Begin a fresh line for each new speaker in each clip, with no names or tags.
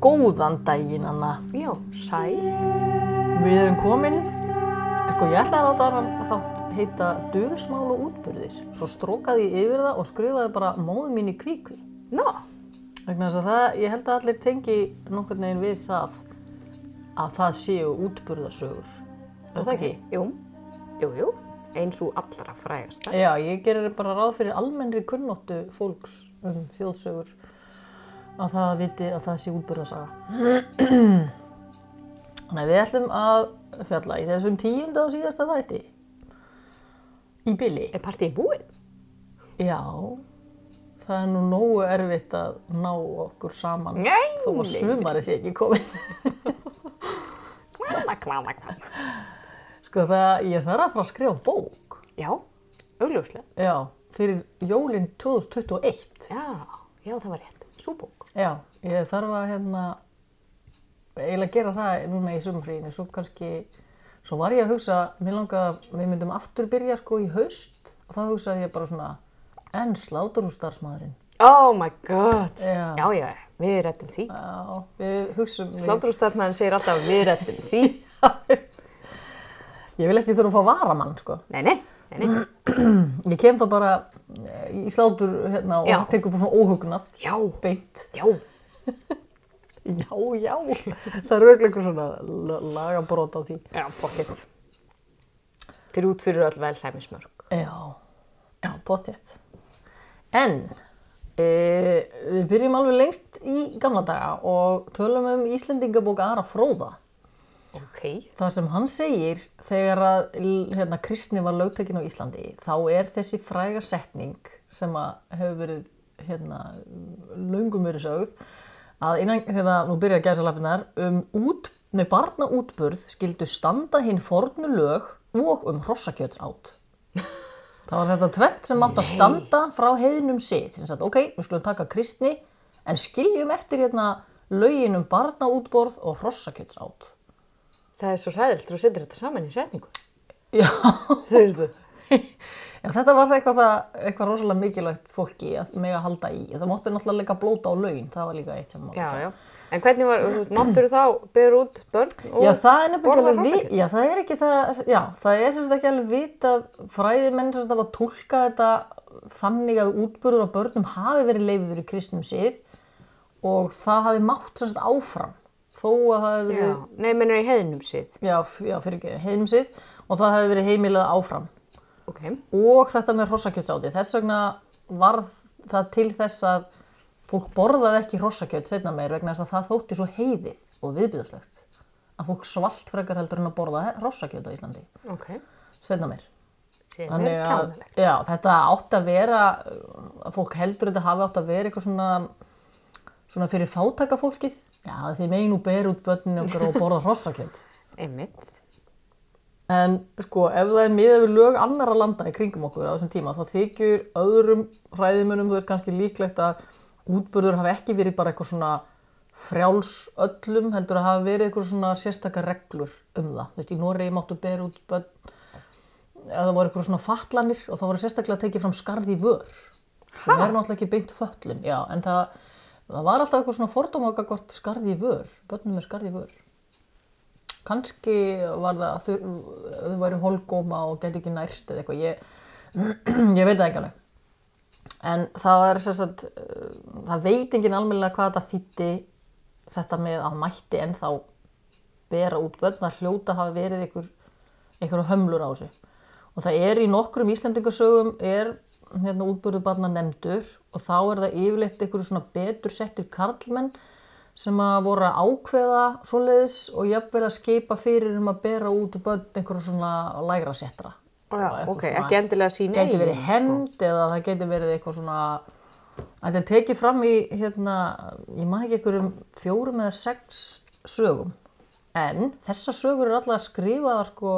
Góðan daginn, Anna.
Já, sæl.
Við erum komin, sko ég ætlaði að láta hann þátt heita Dulsmál og útbyrðir. Svo strókaði ég yfir það og skrifaði bara móðu mín í kvíku.
Ná,
Vegna þess að það, ég held að allir tengi nokkurn veginn við það að það séu útbyrðasögur. Er það ekki?
jú, jú, jú, eins og allra frægasta.
Já, ég gerir bara ráð fyrir almennri kunnóttu fólks um þjóðsögur að það viti að það sé útbyrðasaga. Þannig að við ætlum að fjalla í þessum tíunda og síðasta þætti. Í byli.
Er partíið búið?
Já, það er nú nógu erfitt að ná okkur saman
Nei.
þó að sumari sé ekki komið.
Kváma, kváma, kváma.
Sko það, ég þarf að fara að skrifa bók.
Já, augljóslega.
Já, fyrir jólinn 2021.
Já, já, það var rétt. Súbók.
Já, ég þarf að hérna eiginlega gera það núna í sumfríinu svo kannski, svo var ég að hugsa mér langaði að við myndum aftur byrja sko í haust og þá hugsaði ég bara svona en sláturhússtarfsmaðurinn
Oh my god.
Já.
já, já, við rettum því.
Já, við hugsum við,
Slátrústafnæðin segir alltaf við rettum því.
Ég vil ekki þurfa að fá varamann sko
Nei, nei, nei, nei.
Ég kem þá bara eh, í slátur hérna
Já.
og tekur bara svona óhugnað
Já,
beint
já,
Já, já Það er auðvitað einhver svona l- lagabrót á því
já, pocket. Þeir eru út fyrir öll velsæmismörg.
Já, já, bóttjætt. En e, við byrjum alveg lengst í gamla daga og tölum um Íslendingabók Ara Fróða.
Ok.
Það sem hann segir þegar að l- hérna, kristni var lögtekin á Íslandi, þá er þessi fræga setning sem að hefur verið hérna, löngum verið sögð að innan, hérna, nú byrjar gæðsalapinnar, um út, nei, barnaútburð skildu standa hinn fornu lög og um hrossakjötsátt. Það var þetta tvett sem átt að standa frá heiðnum sið. Þess að, ok, við skulum taka kristni, en skiljum eftir hérna lögin um barnaútborð og hrossakjötsátt.
Það er svo hræðilt, þú setur þetta saman í setningu.
Já,
Þú veist þú?
Já þetta var það eitthvað, það, eitthvað rosalega mikilvægt fólki að mega halda í. Það móttu náttúrulega líka blóta á lögin, það var líka eitt sem mátti.
Já, já. En hvernig var, þú veist, máttur þá byrja út börn og
Já, það er nefnilega
borða
alveg vi-
hrossakjöt?
Já, það er ekki það, já, það er sem sagt ekki alveg vita fræði menn sem sagt hafa tólkað þetta þannig að útburður á börnum hafi verið leifður í kristnum sið og það hafi mátt sem sagt áfram þó að það hafi verið,
Já. Nei, mennur í heiðnum sið.
já, f- já fyrir ekki, heimum sið og það hafi verið heimilað áfram
Ok.
og þetta með hrossakjötsáti. Þess vegna varð það til þess að fólk borðaði ekki hrossakjöt setna meir vegna þess að það þótti svo heiðið og viðbjöðslegt að fólk svalt frekar heldur en að borða hrossakjöt á Íslandi
Ok.
setna meir.
Sem er
að
kjánalegt.
já, þetta átt að vera, að fólk heldur þetta hafi átt að vera eitthvað svona, svona fyrir fátaka fólkið. Já, þið megin nú ber út börninu okkur og borða hrossakjöt.
Einmitt.
En sko, ef það er miðað við lög annara landa í kringum okkur á þessum tíma, þá þykir öðrum hræðimunum, þú veist, kannski líklegt að útbörður hafi ekki verið bara eitthvað svona frjáls öllum, heldur að hafa verið eitthvað svona sérstakar reglur um það. Þú veist, í Noregi máttu bera út bönn, eða það voru eitthvað svona fatlanir og það voru sérstaklega að tekið fram skarð í vör. Sem er náttúrulega ekki beint föllum, já, en það, það var alltaf eitthvað svona fordómaka hvort skarð í vör, bönnum með skarð í vör. Kanski var það að þau, þau væri holgóma og gæti ekki nærst eða eitthvað. Ég, ég veit það ekki alveg. En það er sem sagt, eh, það veit enginn almennilega hvað þetta þýtti þetta með að mætti en þá bera út börn að hljóta hafa verið einhver, einhver hömlur á þessu. Og það er í nokkrum Íslendingasögum er hérna útbörðubarna nefndur og þá er það yfirleitt einhverju svona betur settir karlmenn sem að voru að ákveða svoleiðis og jafnvel að skeipa fyrir um að bera út börn einhverju svona lægra settra
Já, ok. Ekki endilega sín
gæti verið hemmt eða það gæti verið eitthvað svona þetta er tekið fram í hérna, ég man ekki einhverjum fjórum eða sex sögum en þessar sögur eru alltaf að skrifa það sko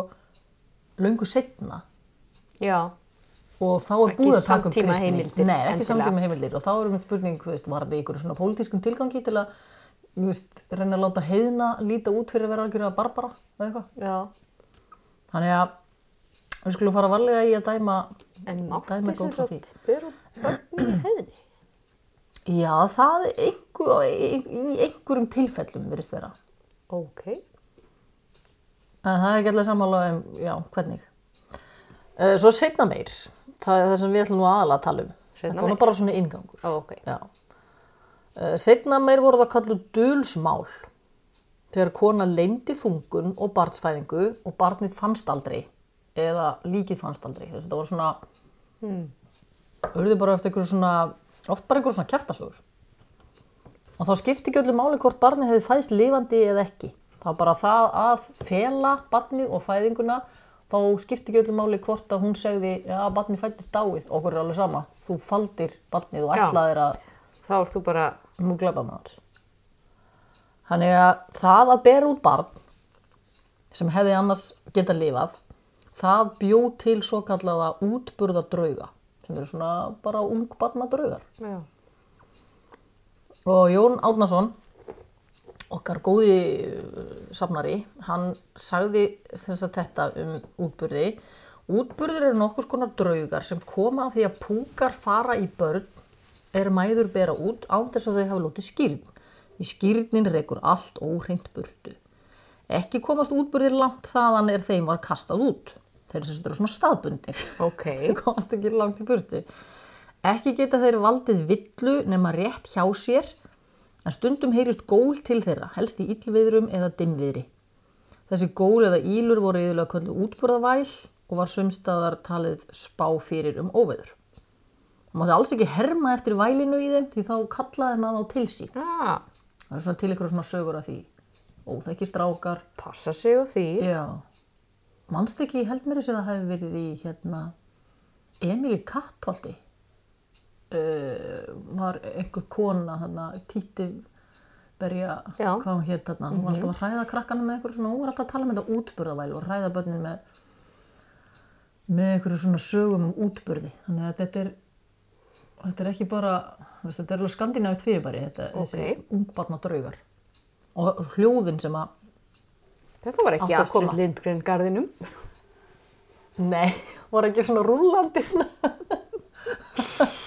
löngu setna
já,
og þá er
Ekki
búið að taka upp
samtíma
kristni
heimildir,
Nei, ekki
endilega.
samtíma heimildir og þá erum við spurning, þú veist, var þetta í einhverju svona pólitískum tilgangi til að þú veist, reyna að láta heiðna líta út fyrir að vera algjörða barbara eða eitthvað
já.
þannig að við skulum fara varlega í að dæma
En
dæma
mátti sem
góð frá því
sagt spyrja börnum í heiðni?
Já, það er einhver, í, í einhverjum tilfellum verist vera
Ok.
en það er ekki allir sammála um, já, hvernig Eh, Svo seinna meir það er það sem við ætlum nú aðalega að tala um
Seinna
Þetta var nú
meir.
bara svona inngangur
Ó, ok.
Já. Uh, Setna meir voru það kallu dulsmál þegar kona leyndi þungun og barnsfæðingu og barnið fannst aldrei eða líkið fannst aldrei. Þess að þetta voru svona, urðu bara eftir einhverju svona, oft bara einhverju svona kjæftasögur. Og þá skipti ekki öllu máli hvort barnið hefði fæðst lifandi eða ekki. Það var bara það að fela barnið og fæðinguna, þá skipti ekki öllu máli hvort að hún segði, já, barnið fættist dáið, okkur er alveg sama, þú faldir barnið og
Já.
ætlaðir að
Þá ert þú bara,
nú glæpamaður. Þannig að það að bera út barn sem hefði annars geta lifað, það bjó til svo kallaða útburðadrauga sem eru svona bara ungbarnadraugar.
já,
Og Jón Árnason, okkar góði eh, safnari, hann sagði þess að þetta um útburði. Útburður eru nokkurs konar draugar sem koma af því að púkar fara í börn er mæður bera út án þess að þau hafa lótið skýrn. Í skýrnin rekur allt óhreint burtu. Ekki komast útburðir langt þaðan er þeim var kastað út. Þeir sem þetta eru svona staðbundir
ok.
þeir komast ekki langt í burtu. Ekki geta þeir valdið villu nema rétt hjá sér, en stundum heyrist gól til þeirra, helst í illviðrum eða dimmviðri. Þessi gól eða ílur voru yfirlega kvöldu útburðavæl og var sumstaðar talið spá fyrir um óveður. Það mátti alls ekki herma eftir vælinu í þeim því þá kallaði maður þá til sín.
Já,
Það er svona til ykkur svona sögur af því. Óþekki strákar.
passa sig á því.
Já. Manstu ekki, ég held mér þess að það hefði verið í hérna Emil í Kattholti uh, var einhver kona þarna, títi berja,
Já.
hvað hún hétt þarna hún var alltaf að ræða krakkana með einhverju svona hún var alltaf að tala með þetta útburðavæl og ræða börnin með með einhverju svona sögum um útburði þannig að þetta er þetta er ekki bara, þú veist, þetta er alveg skandinavist fyrirbæri þetta,
Ókei.
þessi ungbarna draugar og hljóðin sem að
Þetta var ekki
Átti að koma.
Astrid Lindgren garðinum.
Nei, var ekki svona rúlandi svona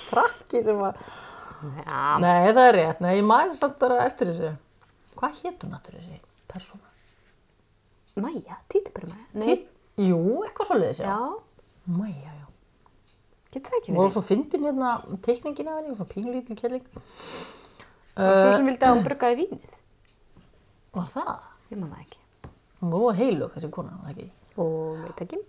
frakki sem var
Já,
Nei, það er rétt, nei, ég mæl samt bara eftir þessu Hvað hétt hún aftur þessi persóna?
Maja, títiburum Maja.
Titt- Jú, eitthvað svo leiðis, já
Já,
Mæja, já
getur það ekki
Og
verið.
svo fyndin hérna teikningin af henni, svona pínlítil kelling
Og
uh,
svo sem vildi að hún bruggaði vínið.
Var það?
Ég man það ekki.
Hún var heilug, þessi kona, var það ekki?
Og veit ekki.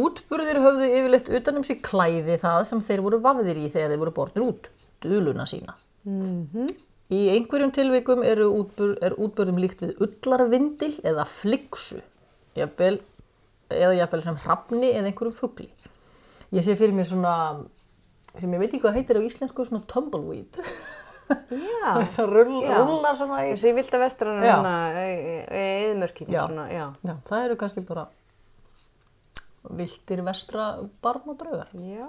Útburðir höfðu yfirleitt utanum sig klæði það sem þeir voru vafðir í þegar þeir voru borðnir út, duluna sína.
Mhm.
Í einhverjum tilvikum eru útbur, er útburðum líkt við ullarvindil eða fliksu, jafnvel, eða jafnvel sem hrafni eða einhverjum fugli. Ég sé fyrir mér svona, sem ég veit ekki hvað heitir á íslensku, svona tumbleweed.
Já.
Þess að rull,
Já.
rullar svona í...
Þessi vilt að vestrann
Já.
hérna eðmörkinu
Já.
svona, já.
Já, það eru kannski bara viltir vestra barn og draugar.
Já.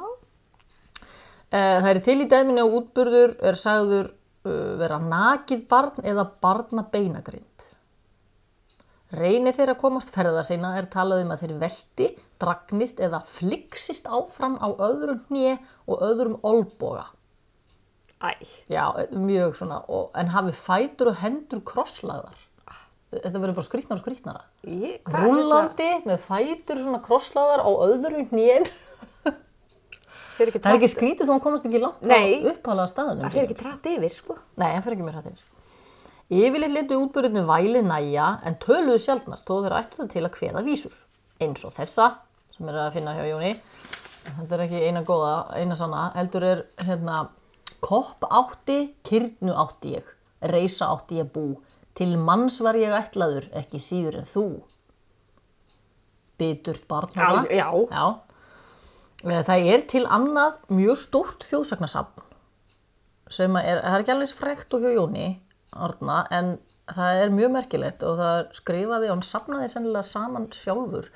Eh, Það er til í dæminu að útburður er sagður uh, vera nakið barn eða barna beinagrind. Reyni þeirra að komast ferða sína er talað um að þeir velti, dragnist eða fliksist áfram á öðrum hnið og öðrum olboga.
Æ.
Já, mjög svona, og, en hafi fætur og hendur krosslagðar. Þetta verður bara skrýtnar og skrýtnara.
Ég, hvað er þetta?
Rúllandi með fætur svona krosslagðar á öðrum hnið.
Fer ekki
Það er
tratt,
ekki skrítið þó hún komast ekki langt
Nei.
frá upphálaða staðunum.
fer ekki tratt yfir, sko.
Nei, hann fer ekki mér hrættir. Yfirleitt letu útbyrðinu væli næja en töluðu sjaldnast þó þeir ættu það til að kveða vísur. Eins og þessa sem er að finna hjá Jóni. Þetta er ekki eina góða, eina sanna. Heldur er hérna kopp átti, kyrnu átti ég, reysa átti ég bú. Til manns var ég ætlaður, ekki síður en þú. Biturt barn.
Já,
þetta.
já.
Já. Eh, Það er til annað mjög stórt þjóðsagnasafn sem að er, það er ekki alveg eins frekt og hjá Jóni Arna, en það er mjög merkilegt og það er skrifaði og hann safnaði sennilega saman sjálfur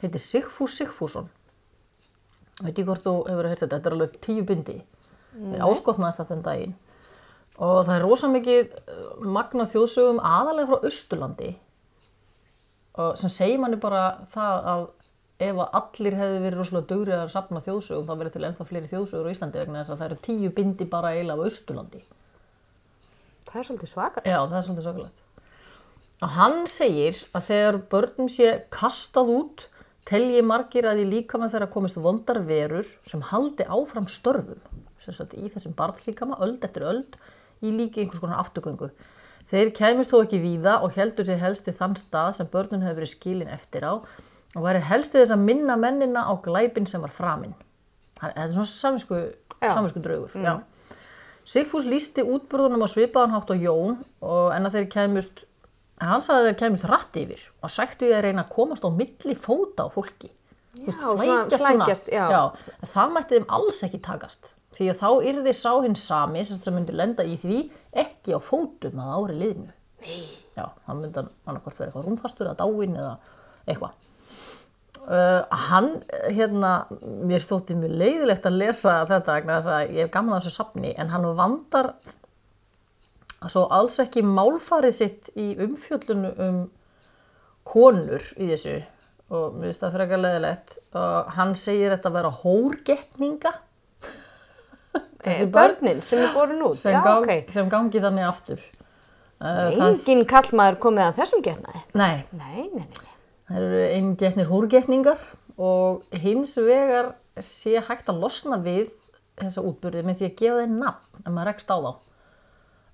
heitir Sigfús Sigfússon veit ekki hvort þú hefur að heyrta þetta, þetta er alveg tíu bindi við áskotnaðist þetta um daginn og það er rosa mikið eh, magna þjóðsögum aðalega frá Austurlandi og sem segir manni bara það að ef að allir hefði verið rosalega dugri að safna þjóðsögum þá verið til ennþá fleiri þjóðsögur á Íslandi vegna þess að það eru tíu bindi bara eiginlega af Austurlandi
Það er svolítið svaka.
Já, það er svolítið svakalegt. Og hann segir að þegar börnum sé kastað út, telji margir að í líkama þeirra komist vondar verur sem haldi áfram störfum, sem sagt í þessum barnslíkama, öld eftir öld, í líki einhvers konar afturgöngu. Þeir kæmist þó ekki víða og heldur sér helst í þann stað sem börnun hefur verið skilin eftir á og væri helst í þess að minna mennina á glæpin sem var framinn. Hann- Þetta er svona saminsku,
Já.
saminsku draugur. Já. Sigfús lísti útburðunum á svipaðan hátt á Jón og en að þeir kæmust hann sagði að þeir kæmust rætt yfir og sættu ég að reyna að komast á milli fóta á fólki Þú veist,
svona flækjast, já.
já, það mætti þeim alls ekki takast því að þá yrði sá hinn sami sem sem myndi lenda í því ekki á fótum að ári liðinu Nei. já, þá myndi hann annarkvort verið eitthvað rúmfastur eða dáinn eða eitthvað Uh, hann, hérna, mér þótti mjög leiðilegt að lesa þetta vegna þess að ég hef gaman að þessu safni en hann vandar svo alls ekki málfarið sitt í umfjöllun um konur í þessu og mér finnst það frekar leiðilegt uh, hann segir þetta vera hórgetninga
Þessi börnin sem er borin út.
sem,
Já,
gang,
ok.
sem gangi þannig aftur uh, það-
Engin kallmaður komið að þessum getnaði.
Nei,
Nei, nei, nei.
Það eru eingetnir húrgetningar og hins vegar sé hægt að losna við þessa útbyrði með því að gefa þeim nafn ef maður rekst á þá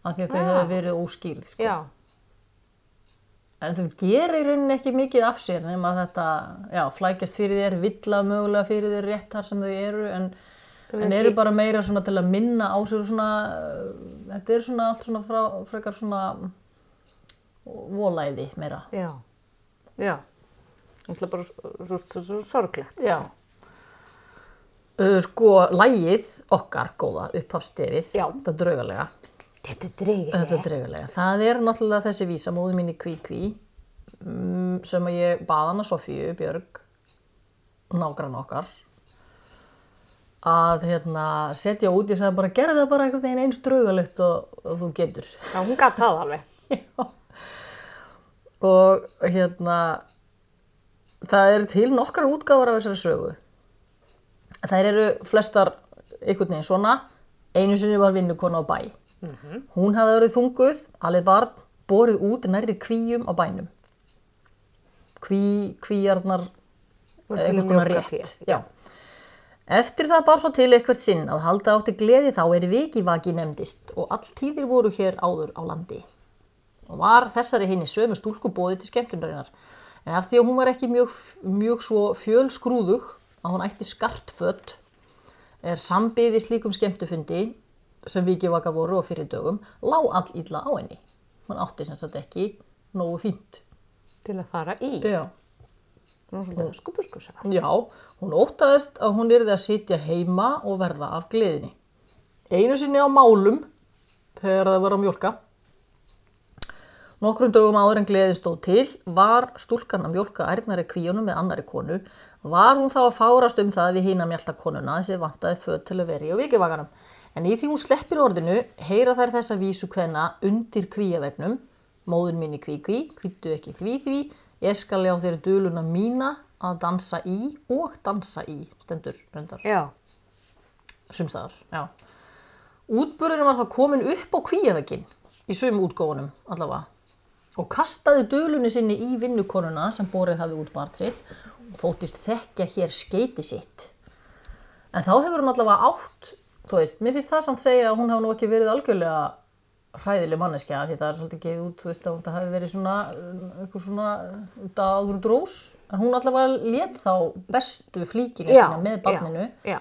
af því að þau
Já.
hefur verið óskýrð sko.
Já,
en þau gerir í rauninni ekki mikið af sér nema að þetta já, flækjast fyrir þér, villa mögulega fyrir þér rétt þar sem þau eru en,
Þau
en
eru
eru
ekki-
bara meira svona til að minna á sér svona, uh, þetta er svona allt svona frá, frekar svona mm, volæði meira
já, já. Það er bara svo, svo, svo, svo sorglegt.
Já. Uh, sko, lægið okkar góða upphafstefið,
Já.
það er draugalega,
Þetta er dreigir.
þetta er draugalega. Það er náttúrulega þessi vísa, móðu mín í kví kví, mm, sem að ég bað hana Sofíu Björg, nágrann okkar, að hérna, setja út, ég sagði bara, gerðu það bara einhvern veginn eins draugalegt og, og þú getur.
Já, hún gæti það alveg.
og hérna það eru til nokkar útgáfar af þessari sögu þær eru flestar einhvern veginn svona einu sinni var vinnukona á bæ hún hafði verið þunguð, alveg barn borið út nærri kvíum á bænum kví, kvíjarnar
Voru til að
einhvers konar
mjólka
Eh, rétt
fé.
Já. Eftir það bar svo til eitthvert sinn að halda átti gleði þá er vikivaki nefndist og all tíðir voru hér áður á landi. Og var þessari henni sömu stúlku bóði til skemmtunarinnar. En af því að hún var ekki mjög, mjög svo fjölskrúðug að hún ætti skartfött er sambiði slíkum skemmtufundi sem vikivakar voru og fyrir dögum lá all illa á henni. Hún átti sem sagt ekki nógu fínt.
Til að fara í.
Já.
Nú svolítið skupuskusa.
Já, hún óttaðist að hún yrði að sitja heima og verða af gleðinni. Einu sinni á málum, þegar það var að mjólka, nokkrum dögum áður en gleði stóð til, var stúlkan að mjólka ærnari kvíunum með annari konu, var hún þá að fárast um það við hína mjöldakonuna þessi vantaði föt til að veri á vikivaganum. En í því hún sleppir orðinu, heyra þær þessa vísu hvenna undir kvíavegnum, móðun minni kví kví, kvítu ekki því því, ég skal já þeirra döluna mína að dansa í og dansa í, stendur reyndar
Já,
sumstaðar, já. Útburðurinn var þá komin upp á kvíaveginn í sömu útgóðunum allavega og kastaði dölunni sinni í vinnukonuna sem borið hafði út bart sitt og þóttist þekkja hér skeiti sitt. En þá hefur hún allavega átt, þú veist, mér finnst það samt segja að hún hafa nú ekki verið algjörlega hræðileg manneskja því það er svolítið gefið út, þú veist, að hún hafi verið svona, uh, einhver svona dagur drós. En hún allavega lét þá bestu flíkina
já.
sína með barninu.
Já, já.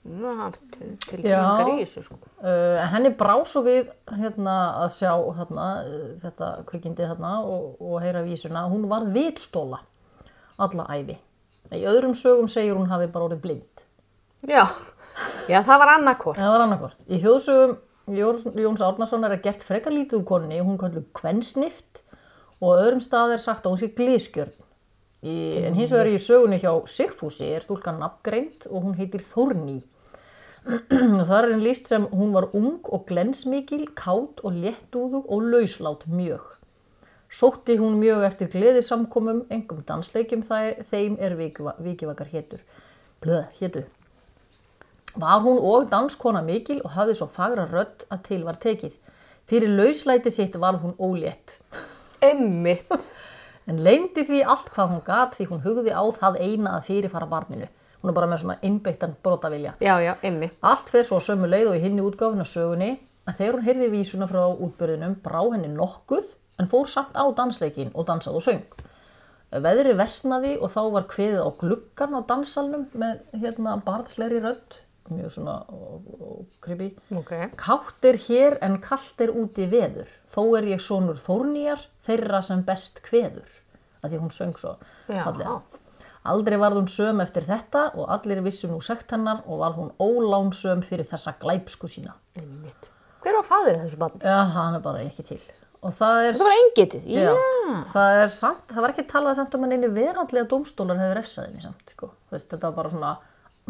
Nú haft til
Já.
yngar í þessu sko.
Uh, en henni brá svo við hérna, að sjá þarna, uh, þetta kvikindi þarna og, og heyra vísuna. Hún var vitstóla alla æfi. Í öðrum sögum segir hún hafi bara orðið blind.
Já, já það var annarkort.
En það var annarkvort. Í þjóðsögum Jórs- Jóns Árnason er að gert frekar lítið úr konni, hún kallu kvensnift og á öðrum stað er sagt að hún sé glískjörn. Í, en hins vegar í sögunni hjá Sigfúsi er stúlkan nafngreind og hún heitir Þórný. og þar er henni líst sem hún var ung og glensmikil, kátt og léttúðug og lauslát mjög. Sótti hún mjög eftir gleðisamkomum, engum dansleikjum þær, þeim er vikiva- vikivakar hétur. Blöð, hétu. Var hún og danskona mikil og hafði svo fagra rödd að til var tekið. Fyrir lauslæti sitt varð hún ólétt.
Emmitt.
En leyndi því allt hvað hún gat því hún hugði á það eina að fyrirfara barninu. Hún er bara með svona innbeittan brotavilja.
Já, já, emmitt.
Allt fer svo á sömu leið og í hinni útgáfuna sögunni að þegar hún heyrði vísuna frá útbyrðinum brá henni nokkuð en fór samt á dansleikin og dansaði og söng. Veðri versnaði og þá var kveðið á gluggan á dansalnum með hérna barnsleiri rödd, mjög svona og, og kribi.
Ok.
Kátt er hér en kallt er úti veður, þó er ég sonur þórnýjar, þeirra sem best kveður. Það því hún söng svo
Já.
fallega. Aldrei varð hún söm eftir þetta og allir vissu nú sekt hennar og varð hún ólánsöm fyrir þessa glæpsku sína.
Emmitt. Hver var fadur þessu barni?
Já, hann er bara ekki til. Og það er...
Það var engitið.
Já, það er samt, það var ekki talað samt um að einu verandlega dómstólar hefur refsaðinni samt, sko. Þú Veist, þetta var bara svona,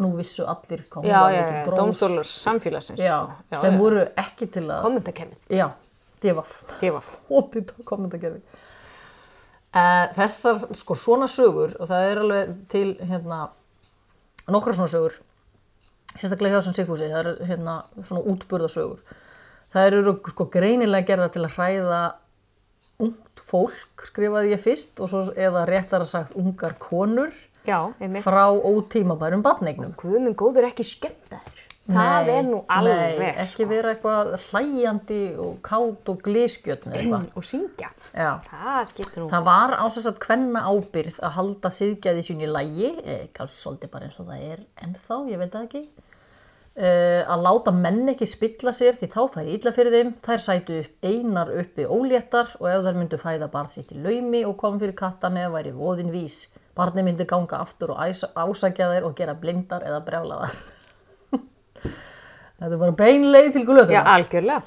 nú vissu allir hvað hún
Já,
var
já,
mikil
já.
grós.
Dómstólar samfélagsins.
Já, sem voru ekki til að...
Kommentakennið.
Já, divaf.
Divaf.
opið kommentakerfi. Uh, þessar, sko, svona sögur og það er alveg til hérna, nokkra svona sögur sérstaklega hjá þessum Sigfúsi, það eru hérna, svona útburðasögur það eru sko greinilega gerða til að hræða ungt fólk skrifaði ég fyrst og svo eða réttara sagt ungar konur
Já, emmitt.
frá ótímabærum batneignum
Guðminn góður ekki skemmt þær. Það
Nei,
er nú alveg. sko.
nei, ekki vera eitthvað hlæjandi og kátt og glískjötn eða eitthvað
Og syngja.
Já.
Það getur nú.
Það var á þess að hvenna ábyrð að halda siðgæði sín í lægi, eh, kannski svolítið bara eins og það er ennþá, ég veit það ekki, eh, að láta menn ekki spilla sér því þá færi illa fyrir þeim, þær sætu upp einar uppi óléttar og ef þær myndu fæða barð sitt í laumi og kom fyrir kattane væri voðin vís. Barni myndi ganga aftur og æsa- ásækja þær og gera blindar eða brjálaðar. Þetta er bara beinleið til
Já,
glötunar.
algjörlega.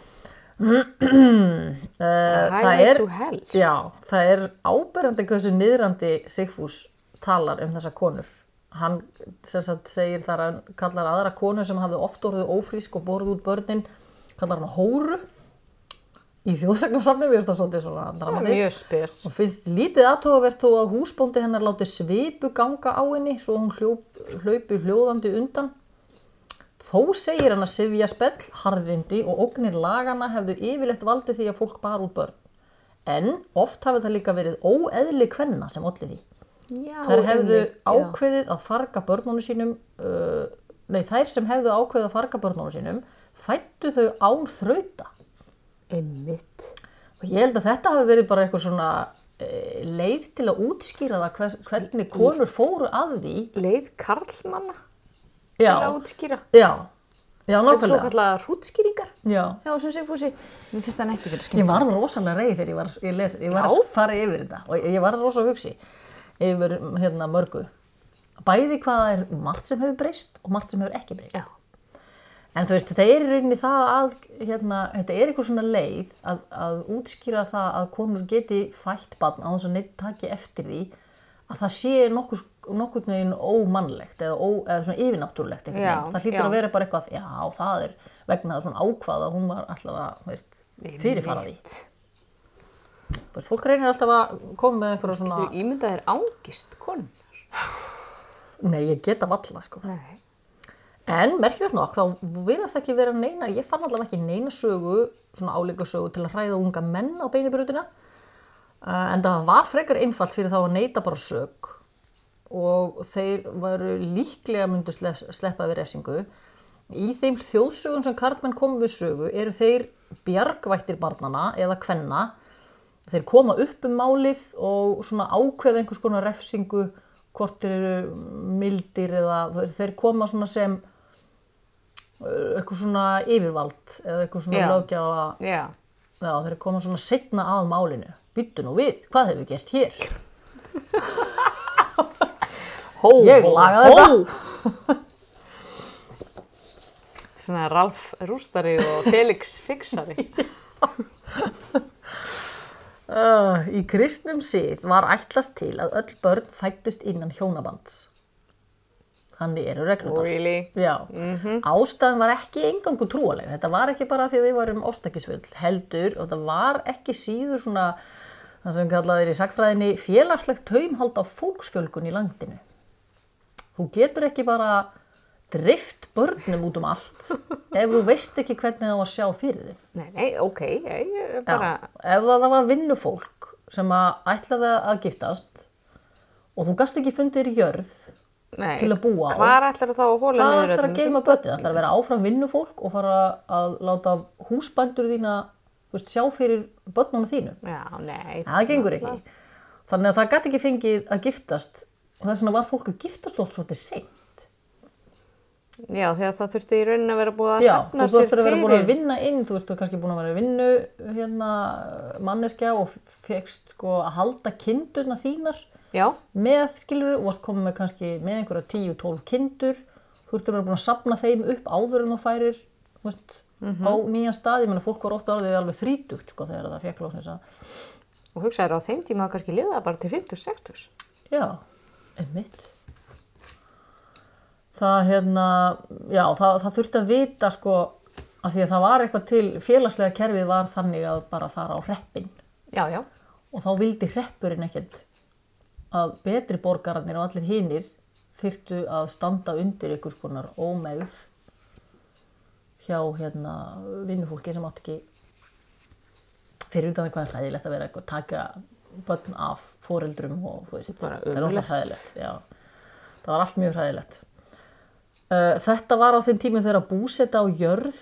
Uh, það
Highway
er,
to hell.
já, það er áberandi hversu niðrandi Sigfús talar um þessa konur. Hann sem sagt, segir þar að hann kallar aðra konu sem hafði oft orðið ófrísk og borðið út börnin, kallar hann hóru í þjóðsagnasafni, við erum það svolítið svona dramatist.
Mjög spes.
Og finnst lítið aðtogavert þó að húsbóndi hennar láti svipu ganga á henni svo hún hljóp, hlaupi hljóðandi undan. Þó segir hann að sifja spell, harðindi og ógnir lagana hefðu yfirleitt valdið því að fólk bar út börn. En oft hafi það líka verið óeðli kvenna sem olli því.
Já,
Þær hefðu
einmitt, já.
ákveðið að farga börnunum sínum, uh, nei þær sem hefðu ákveðið að farga börnunum sínum, fættu þau án þrauta.
Einmitt.
Og ég held að þetta hafi verið bara eitthvað svona eh, leið til að útskýra það hvers, hvernig konur fóru að því.
Leið karlmanna
Já,
til að útskýra.
já, já,
Þetta er svo
nákvæmlega.
kallega hrútskýringar.
Já.
Já, sem Sigfúsi. Mér finnst hann ekki verið
Ég
skemmt.
var rosalega reið þegar ég var, ég les, ég var
Já.
að fara yfir þetta og ég- ég var rosalega hugsi yfir mm, hérna, mörgu. Bæði hvað það er margt sem hefur breyst og margt sem hefur ekki breyst.
Já.
En þú veist, þetta er í rauninni það að, hérna, þetta er eitthvað svona leið að, að útskýra það að konur geti fætt barn á þess að neitt taki eftir því að það sé nokkur, nokkur neginn ómannlegt eða, ó, eða svona yfirnáttúrulegt einhvern
Já,
veginn. Það hlýtur
já.
að vera bara eitthvað, já, það er vegna það svona ákvað að hún var alltaf að, veist, fyrirfara því.
Einmitt.
Þú veist, fólk reynir alltaf að koma með einhverja svona,
Þú ímyndað er ángist konum.
nei, ég geta valla, sko.
Nei.
En merkilegt nokk, þá virðast ekki vera neina, ég fann allavega ekki neina sögu, svona áleika sögu til að hræða unga menn á beinibröðina. Uh, en það var frekar einfalt fyrir þá að neyta bara sög og þeir varu líklega myndu slepp, sleppa við refsingu. Í þeim þjóðsögum sem karlmenn komu við sögu eru þeir bjargvættir barnana eða kvenna. Þeir koma upp um málið og svona ákveða einhvers konar refsingu hvort þeir eru mildir eða þeir- þeir koma svona sem uh, eitthvað svona yfirvald eða eitthvað svona
Já.
lögjafa
Já.
Já, þeir koma svona setna að málinu. Byttu nú við, hvað hefur gerst hér?
Hó,
Ég lagaði þetta.
Svona Ralf Rústari og Felix Fixari.
Uh, í kristnum sið var ætlast til að öll börn fættust innan hjónabands. Þannig eru reglunar.
Really?
Já, ástæðan var ekki engangu trúaleg, þetta var ekki bara því að við varum ofstakisvill heldur og þetta var ekki síður svona, það sem kallað er í sakfræðinni, félagslegt taumhald á fólksfjölgun í landinu. Þú getur ekki bara drift börnum út um allt ef þú veist ekki hvernig það var að sjá fyrir þig.
Nei, nei, ok, ég, ég
Já,
bara,
ef það var vinnufólk sem að ætlaði að giftast og þú gast ekki fundið þér í jörð,
nei.
til að búa á.
Hvar ætlar þá að hóla
hvað
niður
ætlar
öllum
að
þessum-
geima börnin? ætlar að vera áfram vinnufólk og fara að láta húsbændur þína þú veist, sjá fyrir börnunum þínu?
Já, nei.
Það gengur ekki. Þannig að það gæti ekki fengið að giftast og þess vegna var fólk að giftast alltaf svolítið seint.
Já, þegar það þurfti í raunin að vera búið að
Já,
safna
þú
sér
þurftur að vera búin að
fyrir.
vinna inn, þú veist, þú er kannski búin að vera í vinnu hérna, manneskja og fegst sko að halda kindurna þínar
Já,
með, skilur, og varst komið með kannski með einhverja 10-12 kindur þú ert að vera búin að sapna þeim upp áður en þú færir þú veist, á nýjan stað, ég menna fólk var ofta orðið alveg þrítugt sko þegar það fekk lósins að
og hugsaður á þeim tíma að kannski liða bara til 50-60.
já, einmitt það hérna já, það, það þurfti að vita sko að því að það var eitthvað til félagslega kerfið var þannig að bara fara á hreppin
Já, já.
og þá vildi hreppurinn ekkert að betri borgararnir og allir hinir þyrtu að standa undir einhvers konar ómegð hjá hérna vinnufólki sem átt ekki fyrir utan hvað er hræðilegt að vera eitthvað taka börn af foreldrum og þú veist,
Bara
það er
ömurlegt.
alltaf hræðilegt já. það var allt mjög hræðilegt Uh, Þetta var á þeim tímum þegar búseta á jörð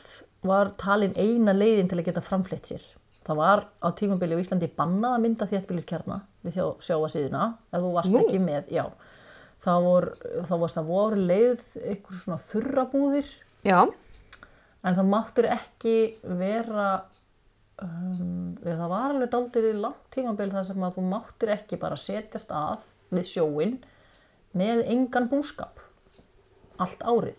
var talin eina leiðin til að geta framfleytt sér. Það var á tímabili á Íslandi bannað að mynda þéttbíliskjarna við þjó sjáasíðuna ef þú varst
Nú.
ekki með, já. Það vor, þá varst það voru leið einhver svona þurrabúðir
Já,
en það máttur ekki vera, um, eða það var alveg daldir í langt tímabili þar sem að þú máttur ekki bara setjast að við sjóin með engan búskap allt árið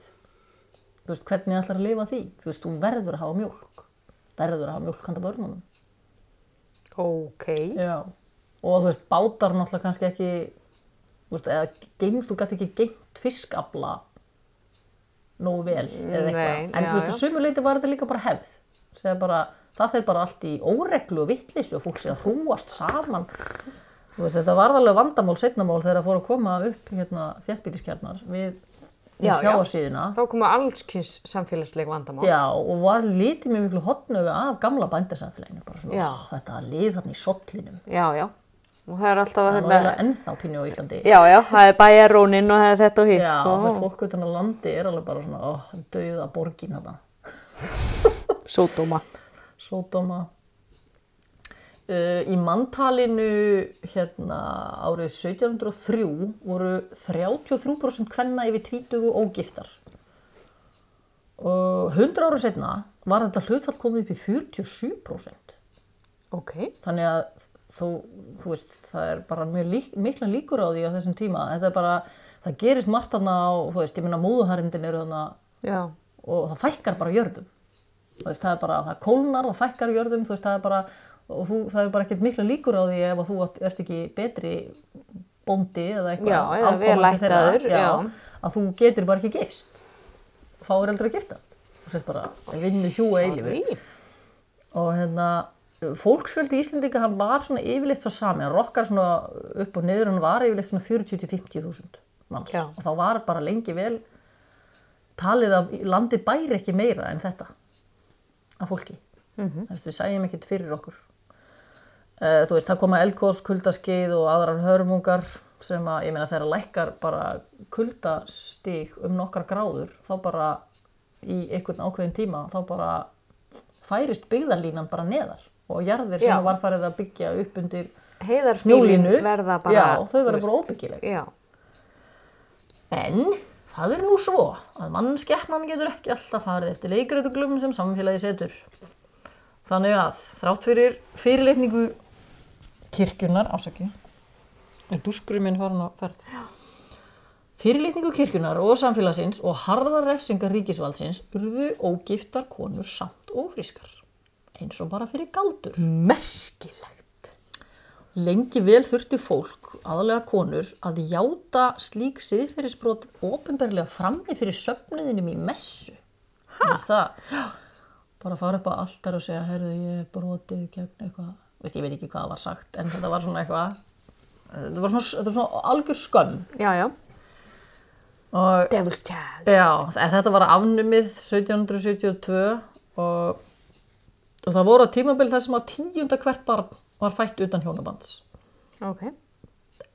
þú veist, hvernig ætlar að lifa því þú veist, þú verður að hafa mjólk verður að hafa mjólk handa börnunum
ok.
Já. og þú veist, bátar náttúrulega kannski ekki þú veist, eða geimt, þú gæti ekki geimt fiskabla nógu vel eða eitthvað,
Nei,
en
já,
þú veist, að
já.
sumu leiti var þetta líka bara hefð Segja bara, það fer bara allt í óreglu og vittlis og fólk sé að hrúast saman Þú veist, þetta var alveg vandamál setnamál þegar það fór að koma upp hérna, þéttbýliskjarnar við, við
Já, já.
sjáarsíðuna
Þá koma allskins samfélagsleg vandamál.
Já, og var litið mjög miklu hotnöga af gamla bændasamfélaginu, bara svona,
Já.
"Ó, þetta lið þarna í sollinum,
já. já. Og það er alltaf
það var
þetta...
eiginlega ennþá pínu á Íslandi.
Já, já, það er bæjarónin og það er þetta og hitt,
Já,
sko.
þú veist, fólk utan á landi er alveg bara svona, ó, dauða borgin þetta,
Sódóma.
sódóma. Uh, í manntalinu hérna árið 1703 voru 33% kvenna yfir 20 ógiftar. Og 100 ára setna var þetta hlutfall komið upp í 47%.
Ok.
þannig að þú, þú veist, það er bara mjög lík, mikla líkur á því á þessum tíma þetta er bara, það gerist margt þarna á, þú veist, ég minna móðuharindin eru þarna
Já,
og það fækkar bara jörðum þú veist, það er bara, það kólnar, það fækkar jörðum þú veist, það er bara, og þú, það er bara ekkert mikla líkur á því ef að þú átt- ert ekki betri bóndi eða eitthvað
Já, eða
afkomandi
vel ættaður,
þeirra, já,
já.
að þú getur bara ekki gifst fáir eldur að giftast þú sést bara, vinnu hjú og eilífi
Sorry.
og hérna fólksfjöldi Íslendinga hann var svona yfirleitt svo sami, hann rokkar svona upp og niður hann var yfirleitt svona 40-50 þúsund manns
Já.
og þá var bara lengi vel talið að landið bæri ekki meira en þetta af fólki mm
Mhm.
-hmm. þess að við sæjum ekkert fyrir okkur uh, þú veist, það koma eldkós, kuldaskeið og aðrar hörmungar sem að, ég meina þegar lækkar bara kuldastig um nokkar gráður þá bara í einhvern ákveðin tíma þá bara færist byggðarlínan bara neðar og jarðir sem
Já.
að var farið að byggja upp undir
Heiðarskýlin
snjólínu
verða bara...
já, þau verða
þú
bara
veist,
óbyggileg
Já,
En það er nú svo að mannskeppnan getur ekki alltaf farið eftir leikrétuglum sem samfélagi setur. Þannig að þrátt fyrir fyrirleitningu kirkjunnar, ásaki, er dúskurinn minn farin á ferð. Fyrirleitningu kirkjunnar og samfélagsins og harðar refsingar ríkisvaldsins urðu ógiftar konur samt og frískar. Eins og bara fyrir galdur.
merkilegt.
Lengi vel þurfti fólk, aðalega konur, að játa slík siðferðisbrot ofinberlega frammi fyrir söfnuðinum í messu. Hæ? Það, já, bara fara upp á alltar og segja, herðu, ég hef brotið gegn eitthvað. Veist, ég veit ekki hvað var sagt, en þetta var svona eitthvað, þetta var svona, þetta var svona algjör skömm.
Já, já.
Og
Devil's Child.
Já, en þetta var afnumið 1772 og, og það voru á tímabil þar sem að tíunda hvert barn var fætt utan hjónabands.
Ok.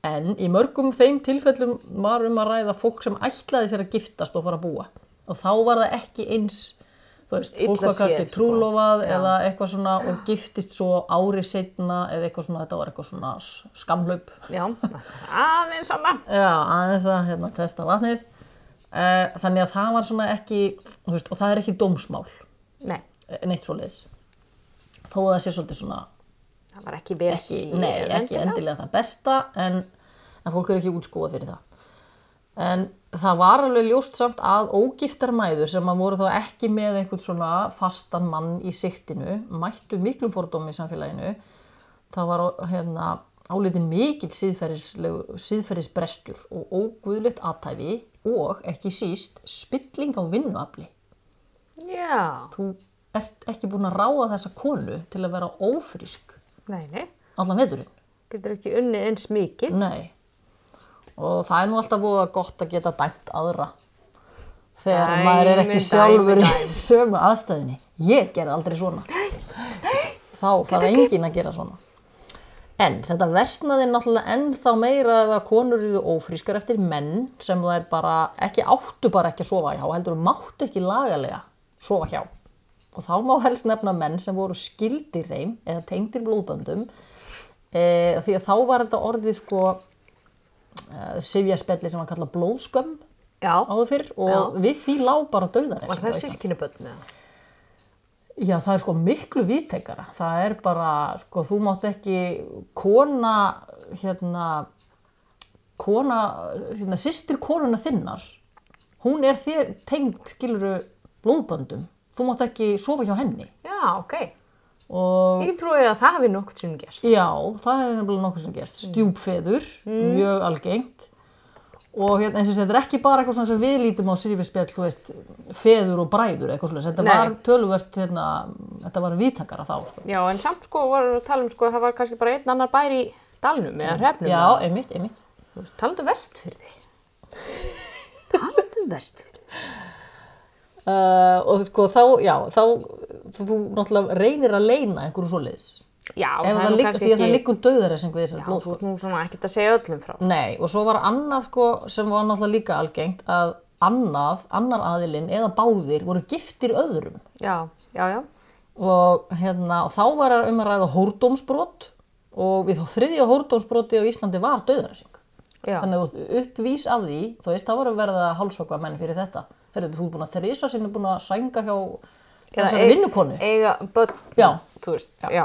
En í mörgum þeim tilfellum var um að ræða fólk sem ætlaði sér að giftast og fara að búa. Og þá var það ekki eins, þú veist, fólk
Illa
var kannski
séð, sko.
trúlofað eða eitthvað svona og giftist svo ári setna eða eitthvað svona, þetta var eitthvað svona s- skamhlaup.
Já. Aðeins annað.
Já, aðeins að hérna, testa vatnið. Eh, Þannig að það var svona ekki, þú veist, og það er ekki dómsmál,
Nei,
eh, neitt svo leiðis. Þó að það sé svolítið svona,
það var ekki vel
ekki,
séð
nei, ekki
endilega.
endilega það besta, en, en fólk er ekki útskóað fyrir það. En það var alveg ljóst samt að ógiftar mæður sem að voru þá ekki með einhvern svona fastan mann í siktinu, mættu miklum fordómi í samfélaginu, það var hérna, álitin mikill síðferðislegu- síðferðisbrestur og óguðlegt aðtæfi og ekki síst spilling á vinnuafli.
Já.
Þú ert ekki búin að ráða þessa konu til að vera ófrísk
Nei, nei.
allan veðurinn.
Getur ekki unnið eins mikið.
Nei. Og það er nú alltaf voða gott að geta dæmt aðra. Þegar
Dæmi,
maður er ekki
dæmi,
sjálfur
dæmi.
í sömu aðstæðinni. Ég ger aldrei svona. Nei, nei. Þá þarf enginn að gera svona. En þetta versnaði náttúrulega ennþá meira ef að konur eru ófrískar eftir menn sem það er bara, ekki áttu bara ekki að sofa hjá, heldur máttu ekki lagalega sofa hjá. Og þá má helst nefna menn sem voru skildir þeim eða tengdir blóðböndum e, því að þá var þetta orðið sko e, sifjaspelli sem var kallað blóðskömm
Já.
áður fyrr og við því lá bara döðar
Var það sískinuböldinu?
Já, það er sko miklu víttekara. Það er bara, sko, þú mátt ekki kona, hérna, kona, hérna, sýstir konuna þinnar, hún er þér tengd, skiluru, blóðböndum. Þú mátt ekki sofa hjá henni.
Já, ok.
Og
Ég trúi að það hafi nokkuð sem gerst.
já, það er nefnilega nokkuð sem gerst. Stjúpfeður, mjög algengt. Og hérna, eins og þessi, þetta er ekki bara eitthvað svona sem við lítum á sirfispjall, þú veist, feður og bræður eitthvað svona. Þetta
Nei.
var töluvert, hérna, þetta var víttakara þá, sko.
Já, en samt sko var að tala um sko að það var kannski bara einn annar bær í dalnum eða hrefnum.
Mm, Já, einmitt, einmitt.
Þú veist, talandu um vestfyrði. talandu um vestfyrði.
Uh, og þú sko, þá, já, þá þú þú náttúrulega reynir að leina einhverju svoleiðis.
Já,
Ef það
nú
liggur, því að það liggur döðaressing við þessar
Já,
blóð,
þú
sko.
ert nú svona ekkert að segja öllum frá.
Nei, og svo var annað, sko, sem var náttúrulega líka algengt, að annað, annar aðilinn eða báðir voru giftir öðrum.
Já, já, já.
Og hérna, og þá var um að ræða hórdómsbrot og við þriðja hórdómsbroti á Íslandi var döðaressing.
Já,
Þannig að þú ert uppvís af því, þú veist, þá voru að verða hálsokva menn fyrir þetta. Herðu, þú er búin að þrýsa sinni búin að sænga hjá þessari
eig-
vinnukonu.
Eiga, börn,
Já.
þú veist, já.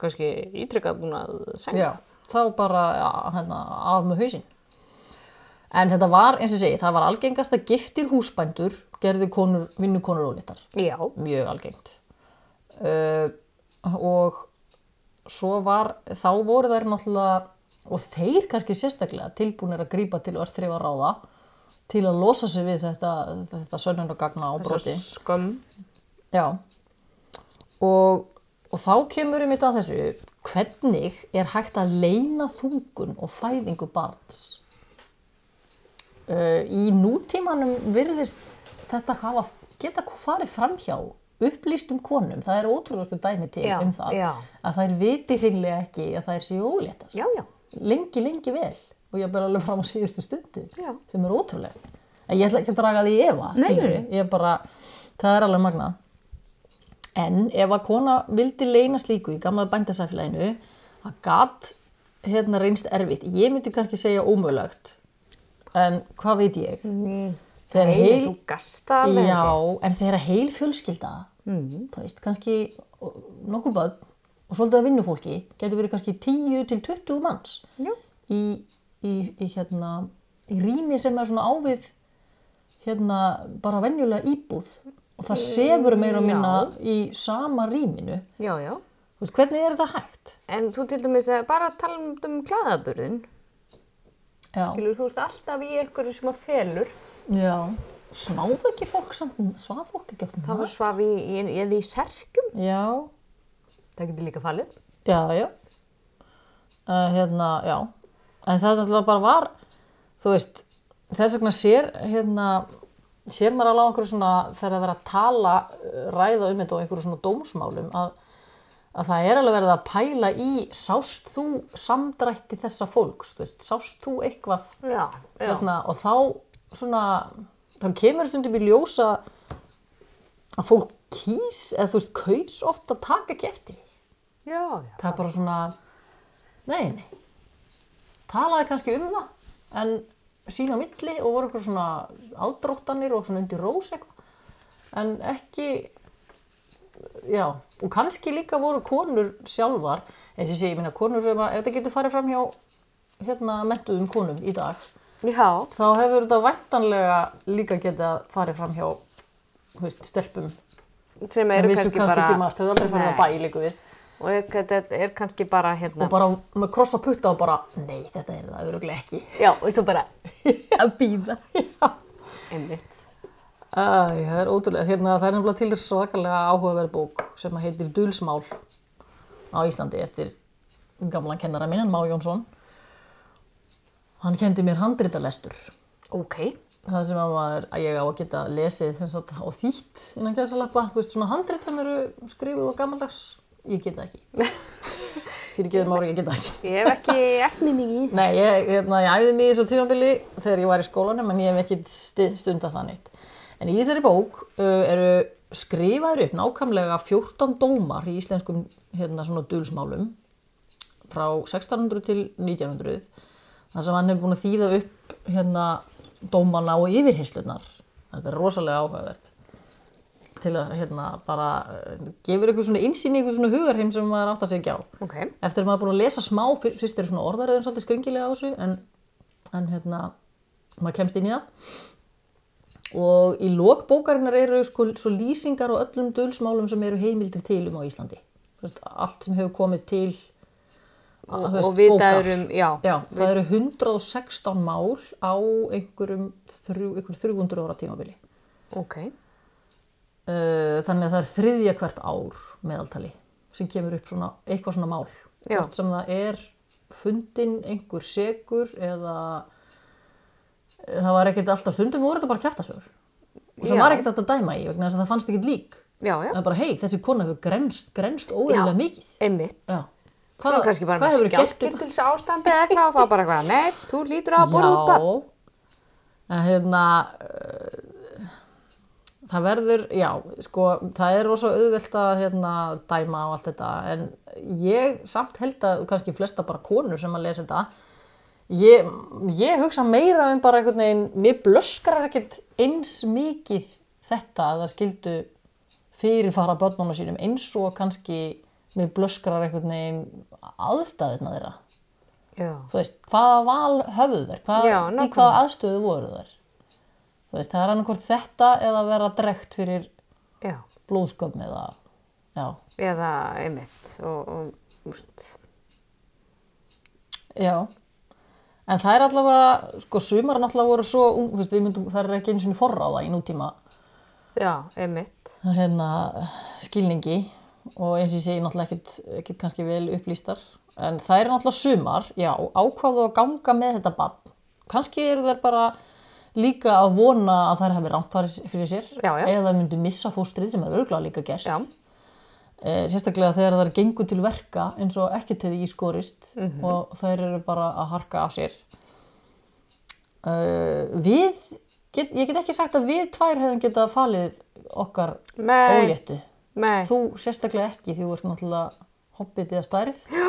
Kannski ítrykkað búin að segja.
Já, þá bara já, hérna, af með hausinn. En þetta var, eins og ég segi, það var algengast að giftir húsbændur gerði konur, vinnukonur ólítar.
Já,
Mjög algengt. Uh, og svo var, þá voru þær náttúrulega, og þeir kannski sérstaklega tilbúinir að grípa til og er þrif að ráða til að losa sig við þetta, þetta sönnunagagna og broti.
svo skömm.
Já. Og, og þá kemur við mitt að þessu, hvernig er hægt að leina þungun og fæðingu barns? Uh, í nútímanum virðist þetta hafa, geta farið framhjá upplýstum konum, það er ótrúlustu dæmi til
Já,
um það,
já.
að þær viti hreinlega ekki að þær séu óléttar.
Já, já.
Lengi, lengi vel og ég ber alveg fram á síðustu stundu
Já.
sem er ótrúlegt. En ég ætla ekki að draga því í efa.
Nei, nei,
skilurðu. Ég er bara, það er alveg magnað. En ef að kona vildi leina slíku í gamla bændasafélaginu, það gat hérna reynst erfitt. Ég myndi kannski segja ómögulegt, en hvað veit ég? Mm. Þegar
Nei,
heil,
þú gast það alveg.
já, en þegar heil fjölskylda,
Mm.
þú veist, kannski nokkuð börn og svolítið að vinnufólki, getur verið kannski 10 til 20 manns
Já.
í, í, í, hérna, í rými sem er svona ávið hérna, bara venjulega íbúð og það sefur meira og minna í sama rýminu
Já, já.
Þú veist, hvernig er þetta hægt?
En þú til dæmis að bara tala um, um klæðaburðin.
Já.
Skilur, þú ert alltaf í einhverju sem að felur.
Já. Snáðu ekki fólk samt, svað fólk ekki oft um
Það var svaf í, í, í, eða í serkjum.
Já,
Það getur líka falið.
já, já. Uh, hérna, já. En það er náttúrulega bara var, þú veist, þess vegna sér, hérna, sér maður alveg á einhverju svona, þegar það verið að tala, uh, ræða um þetta og einhverju svona dómsmálum, að, að það er alveg verið að pæla í, sást þú samdrætti þessa fólks, þú veist, sást þú eitthvað
Já, já.
hérna, og þá svona, þá kemur stundum í ljósa að fólk kýs eða þú veist, kaus oft að taka ekki eftir því.
Já, já.
það er bara svona nei, nei talaði kannski um það en sín á milli og voru eitthvað svona ádróttanir og svona undir rós eitthvað en ekki já, og kannski líka voru konur sjálfar eins og ég segi, ég minna konur sem að ef þetta getur farið fram hjá hérna mentuðum konum í dag
Já,
þá hefur þetta væntanlega líka getið að farið fram hjá þú veist, stelpum
sem
sem
eru
vissu
kannski,
kannski
bara...
ekki margt, þau hefur aldrei farið á
Nei.
bæ líka við
Og er, þetta er kannski bara hérna...
og bara með krossa putta og bara nei, þetta er það öruglega ekki
Já, og þú bara...
að býða
Einmitt.
Æ, það er ótrúlega, hérna það er nefnilega til svakalega áhugaverð bók sem að heitir Dulsmál á Íslandi eftir gamlan kennara minn, Má Jónsson hann kendi mér handritalestur
Ok.
það sem að, maður, að ég á að geta lesið sem sagt, og þýtt innan gæðsalappa þú veist svona handrit sem eru skrifuð og gammaldags ég geta ekki fyrir geðum ári ég geta ekki
Ég hef ekki efni mikið í það.
Nei, ég, hérna, ég æfði mig í þessu tímabili þegar ég var í skólanum en ég hef ekki sti- stundað það neitt. En í þessari bók uh, eru skrifaður upp nákvæmlega 14 dómar í íslenskum hérna, svona dulsmálum frá 1600 til 1900 þar sem hann hefur búin að þýða upp hérna, dómana og yfirhinslunar. Þetta er rosalega áhugavert til að hérna, bara uh, gefur ykkur svona insýn í ykkur svona hugarheim sem maður átt að segja ekki á
Ok.
eftir að maður er búin að lesa smá fyr- fyrst eru svona orðaröðin svolítið skringilega á þessu en, en hérna maður kemst inn í það og í lokbókarinnar eru sko, svo lýsingar og öllum dulsmálum sem eru heimildir til um á Íslandi Þú veist, allt sem hefur komið til
Og,
þú veist,
og við
bókar.
dærum, já.
já, það eru 116 mál á einhverjum þrjú, einhver 300 ára tímabili
Ok.
Uh, þannig að það er þriðja hvert ár meðaltali sem kemur upp svona, eitthvað svona mál
Já.
hvort sem það er fundin einhver segur eða eh, það var ekkert alltaf stundum voru þetta bara kjæftasögur
Já.
sem var ekkert hægt að dæma í vegna þess að það fannst ekkert lík
Já, já.
það er bara hei þessi kona hefur grenst, grenst óeðlega mikið
Einmitt.
Já.
Það
hvað,
var kannski bara
hvað hefur gert
skjálkinn til ástandi eða eitthvað og þá bara eitthvað, nei, þú lítur á að borða út bara.
En hérna, eh, það verður, já, sko, það er rosa auðvelt að hérna, dæma á allt þetta, en ég samt held að kannski flesta bara konur sem að lesa þetta, ég, ég hugsa meira um bara einhvern veginn, mér blöskrar ekkert eins mikið þetta að það skildu fyrirfara börnunum sínum eins og kannski mér blöskrar einhvern veginn aðstæðina þeirra
Já.
þú veist, hvaða val höfðu þær, hvað,
Já,
í
nákvæmlega.
hvaða aðstöðu voru þær. Þú veist, það er annarkvort þetta eða að vera drekt fyrir
Já.
blóðskömm eða, já,
Eða einmitt. Og, og, úst,
já. En það er allavega, sko, sumar náttúrulega voru svo, ung- þú veist, við myndum, það er ekki einu sinni forráða í nútíma
já, einmitt.
hérna, skilningi og eins og ég segi náttúrulega ekkit, ekkit kannski vel upplýstar en það er náttúrulega sumar, já, ákvaðu að ganga með þetta barn kannski eru þær bara líka að vona að þær hafi rámt farið fyrir sér
Já, já.
eða þær myndu missa fóstrið sem er örgulega líka gerst
Já.
Eh, sérstaklega þegar þær gengur til verka eins og ekki til því skorist
Mhm.
og þær eru bara að harka af sér uh, við get, ég get ekki sagt að við tvær hefðum getað falið okkar
Nei.
óléttu
Nei.
Þú sérstaklega ekki því þú ert náttúrulega hobbit eða stærð Já.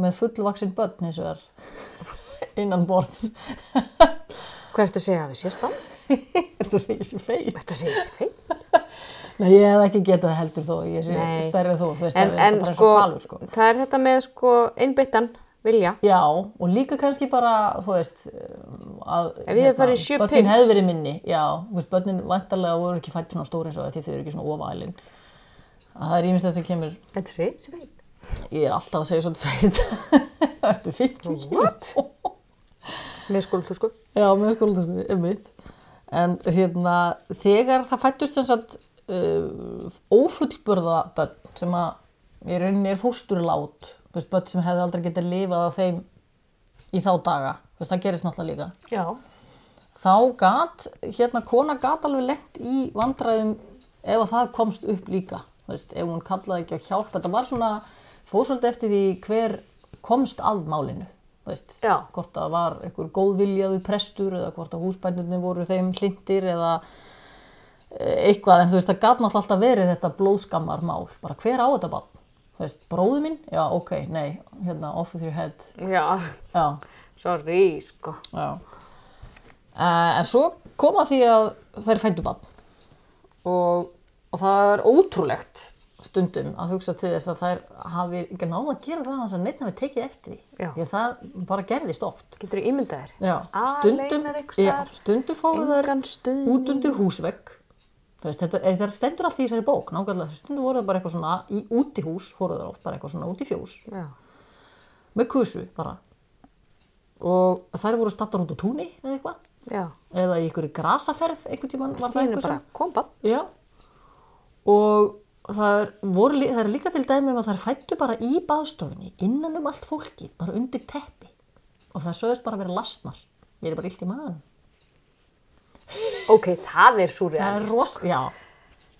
með fullvaksinn börn eins og er innan borðs.
Hvað ertu að segja að við sést það?
Þetta segir sér feit.
Þetta segir sér feil.
Nei, ég hef ekki getað það heldur þó, ég sé
Nei.
stærri en þú, þú veist
En,
það er
en
bara eins
sko,
og palur sko.
það er þetta með sko innbyttan vilja.
Já, og líka kannski bara, þú veist, um, að hérna,
Ef ég hefði farið í sjö
börnin
pils.
hefði verið minni, já, þú veist, börnin vantarlega voru ekki fætt svona stór eins og það, því þau eru ekki svona ofælin. Að Það er ímislegt sem kemur
Þetta segir sér feil.
Ég er alltaf að segja svona feit. Ertu 50 kíló?
What? Með skóltusku.
Já, með skóla, sko, einmitt. En hérna, þegar það fættust sem sagt uh, ófullburða börn sem að í rauninni er fósturlát, þú veist, börn sem hefði aldrei getið lifað af þeim í þá daga, þú veist, það gerist náttúrulega líka.
Já.
þá gat, hérna kona gat alveg lengt í vandræðum ef að það komst upp líka Þú veist, ef hún kallaði ekki á hjálp þetta var svona, fór svolítið eftir því hver komst að málinu Þú veist,
Já.
hvort það var einhver góðviljaðu prestur eða hvort að húsbændunni voru þeim hlindir eða eh, eitthvað en þú veist það gat náttúrulega alltaf verið þetta blóðskammar mál bara hver á þetta bann þú veist, bróðu minn, já ok, nei hérna, off with your head
Já.
já,
Sorry, sko.
Já. Uh, en svo kom að því að þær fættu bann og, og það er ótrúlegt stundum að hugsa til þess að þær hafi ekki náða að gera það hans að neitt hafi tekið eftir því.
Já.
Því að það bara gerðist oft.
Getur þú ímyndað þér?
Já,
Aleinar
stundum,
einhvers
já,
staðar.
stundum fóru þær
Engan stuðning.
út undir húsvegg. Þú Veist, þetta, þetta stendur allt í þessari bók, nákvæmlega. Stundum voru það bara eitthvað svona í, út í hús, fóru þær oft bara eitthvað svona út í fjós
Já.
með kusu bara. Og þær voru stattar út á túni eða eitthvað
Já.
eða í einhverju grasaferð einhvern tímann var það
Stínu
eitthvað
bara,
sem
kom bann.
já. og það er, voru, lí- það er líka til dæmi um að það er fættu bara í baðstofunni innan um allt fólkið, bara undir teppi og það sögðist bara að vera lastnar ég er bara illt í maðan
Ok, það er súrið.
það er, ros, já,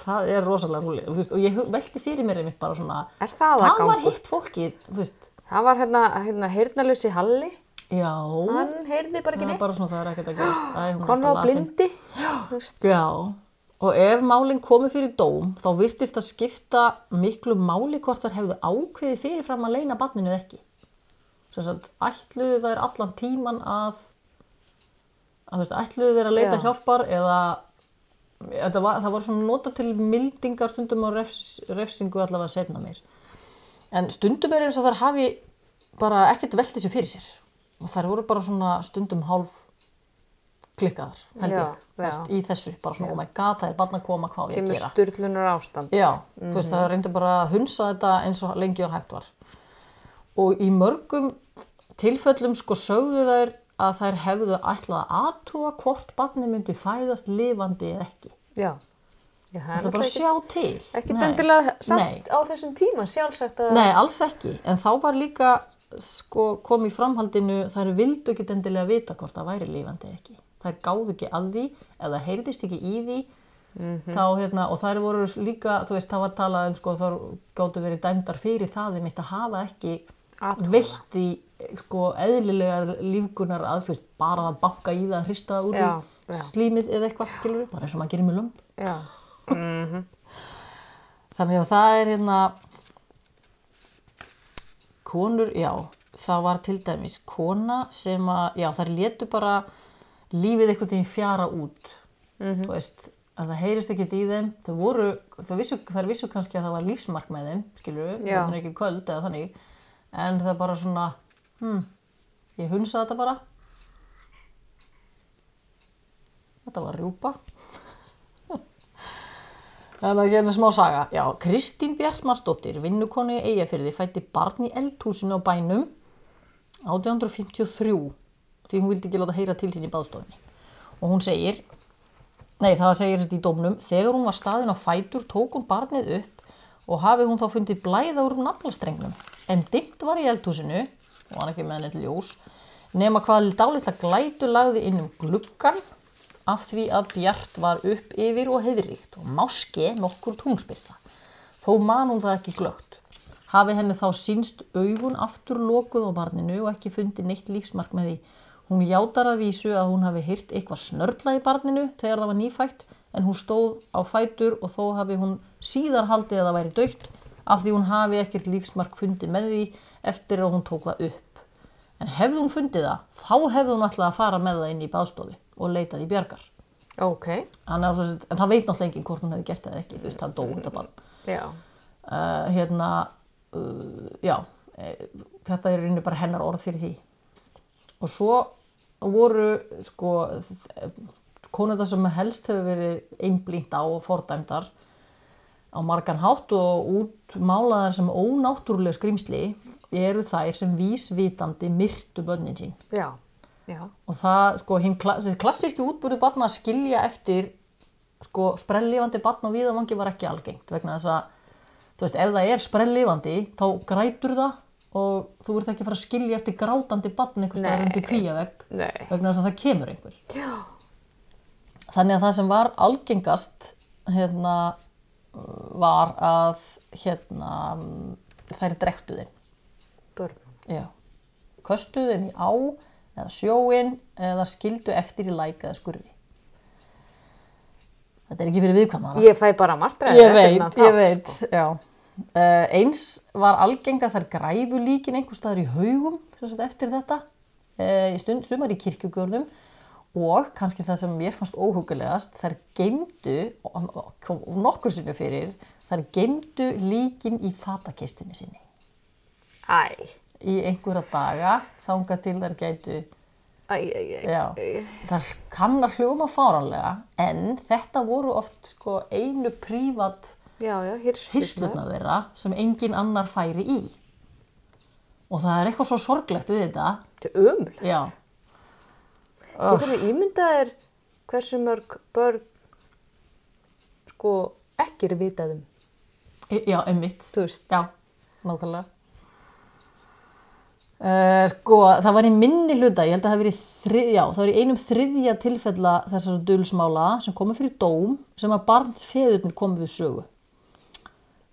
það er rosalega rúli veist, og ég hu- velti fyrir mér einmitt bara svona
Er það að
var
gangur?
hitt fólkið þú veist,
Það var hérna, hérna, heyrnalusi Halli.
já
Hann heyrði bara ekki
það
neitt.
er bara svona það er ekkert að gerast Æ, hún er
Konna á
alltaf lasin.
blindi. Já. Þú veist.
Já, og ef málinn komi fyrir dóm, þá virtist að skipta miklu máli hvort þær hefðu ákveðið fyrirfram að leina barninu eða ekki. Þess að ætluðu þær allan tíman að, að þú veist, ætluðu þær að leita
Já.
hjálpar eða þetta var, það var svona nota til mildingar stundum á refs, refsingu allavega sefna mér. En stundum er eins og þær hafi bara ekkert velt þessu fyrir sér. Og þær voru bara svona stundum hálf klikkaðar, held
Já,
ég,
já.
Fast í þessu. Bara svona, oh my god, það er barn að koma, hvað á ég að
Kemur Mhm.
gera?
sturlunar ástand.
Já, þú veist, það reyndi bara að hunsa þetta eins og lengi og hægt var. Og í mörgum tilfellum sko sögðu þær að þær hefðu ætlað að atúa hvort barni myndi fæðast lifandi eða ekki.
Já. Já, það er
Það er bara að
náttúrulega
sjá til.
ekki
Nei.
dendilega samt
Nei.
á þessum tíma sjálfsagt að...
Nei, alls ekki. En þá var líka, sko, kom í framhaldinu, þær vildu ekki endilega vita hvort það væri lífandi eða ekki. Þær gáðu ekki að því, ef það heyrðist ekki í því,
Mhm.
þá, hérna, og þær voru líka, þú veist, það var talað um, sko, þar gáttu verið dæmdar fyrir það, þeim eitt að hafa ekki
Athugað.
veitt í, sko, eðlilegar lífgunar að, þú veist, bara að banka í það, hrista það úr
Já, já.
því, slímið eða eitthvað, skilur bara eins og maður gerir með lömb.
Já.
Þannig að það er hérna konur, já, það var til dæmis kona sem að, já, þær letu bara lífið einhvern veginn fjara út. Þú veist, að það heyrist ekki í þeim, þau voru, þau vissu, þær vissu kannski að það var lífsmark með þeim, skilur við,
Já.
það er ekki köld eða þannig, en það bara svona, hm, ég hunsa þetta bara. Þetta var rjúpa. Þannig að hérna smá saga. Já, Kristín Bjartmarsdóttir, vinnukonu í Eyjafyrði, fætti barn í eldhúsinu á bænum 1853 því hún vildi ekki láta heyra til sín í baðstofinni. Og hún segir, nei það segir þetta í dómnum, þegar hún var staðin á fætur tók hún barnið upp og hafi hún þá fundið blæða úr naflastrengnum. En dimmt var í eldhúsinu, og hann ekki með henni ljós, nema hvað dálitla glætu lagði inn um gluggan af því að bjart var upp yfir og heiðríkt og máski nokkur túnspyrta. Þó man hún það ekki glögt. Hafi henni þá sínst augun aftur lokuð á barninu og ekki fundið neitt lífsmark með því. Hún játar að vísu að hún hafi hýrt eitthvað snörla í barninu þegar það var nýfætt en hún stóð á fætur og þó hafi hún síðar haldið að það væri dögt af því hún hafi ekkert lífsmark fundið með því eftir að hún tók það upp. En hefði hún fundið það, þá hefði hún alltaf að fara með það inn í baðstofu og leitað í bjargar.
Ok.
Hann er svo sem- En það veit náttúrulega enginn hvort hún hefði gert það eða ekki, þú veist, það dó þetta bara
Já.
uh, hérna, uh, já, eh, þetta er í rauninni bara hennar orð fyrir því. Og svo voru, sko, konur það sem helst hefur verið einblínt á og fordæmdar, á margan hátt og útmálaðar sem ónáttúrulega skrimsli eru þær sem vísvitandi myrtu börnin sín.
já, já,
Og það, sko, hinn kla- þessi klassíski útbúru barna að skilja eftir, sko, sprellifandi barn og viðavangi var ekki algengt vegna þess að, þú veist, ef það er sprellifandi, þá grætur það og þú ert ekki að fara að skilja eftir grátandi barn einhvers staðar
Nei.
undir kvíavegg
Nei.
vegna þess að það kemur einhver.
já,
Þannig að það sem var algengast hérna, var að hérna, þær drektu þeim.
börnum,
Já. Köstuðu þeim í á eða sjóin eða skildu eftir í læk eða skurfi. Þetta er ekki fyrir viðkvæmara.
ég fæ bara martræði
Ég veit, ég veit, já. Uh, sko. eins var algengt að þær græfu líkin einhver staðar í haugum sem sagt, eftir þetta, uh, í stund, sumar í kirkjugörðum og kannski það sem mér fannst óhugulegast, þær geymdu, og- og kom nokkur sinni fyrir, þær geymdu líkin í fatakistunni sinni
Æ,
í einhverja daga þangað til þær gætu
æ, æ, æ,
Já, það kann að hljóma fáranlega en þetta voru oft sko einu prívat
já, já, hýrslutna,
hýrslutna þeirra sem engin annar færi í. Og það er eitthvað svo sorglegt við þetta.
þetta er uml.
Já,
Getur við ímyndaðir hversu mörg börn sko ekki er vitað um,
e- já einmitt.
þú veist?
Já, nákvæmlega. Uh, sko, það var í minni hluta, ég held að það hafi verið þrið, já, það var í einum þriðja tilfella þessara dulsmála sem komu fyrir dóm sem að barnsfeðurnir komu við sögu.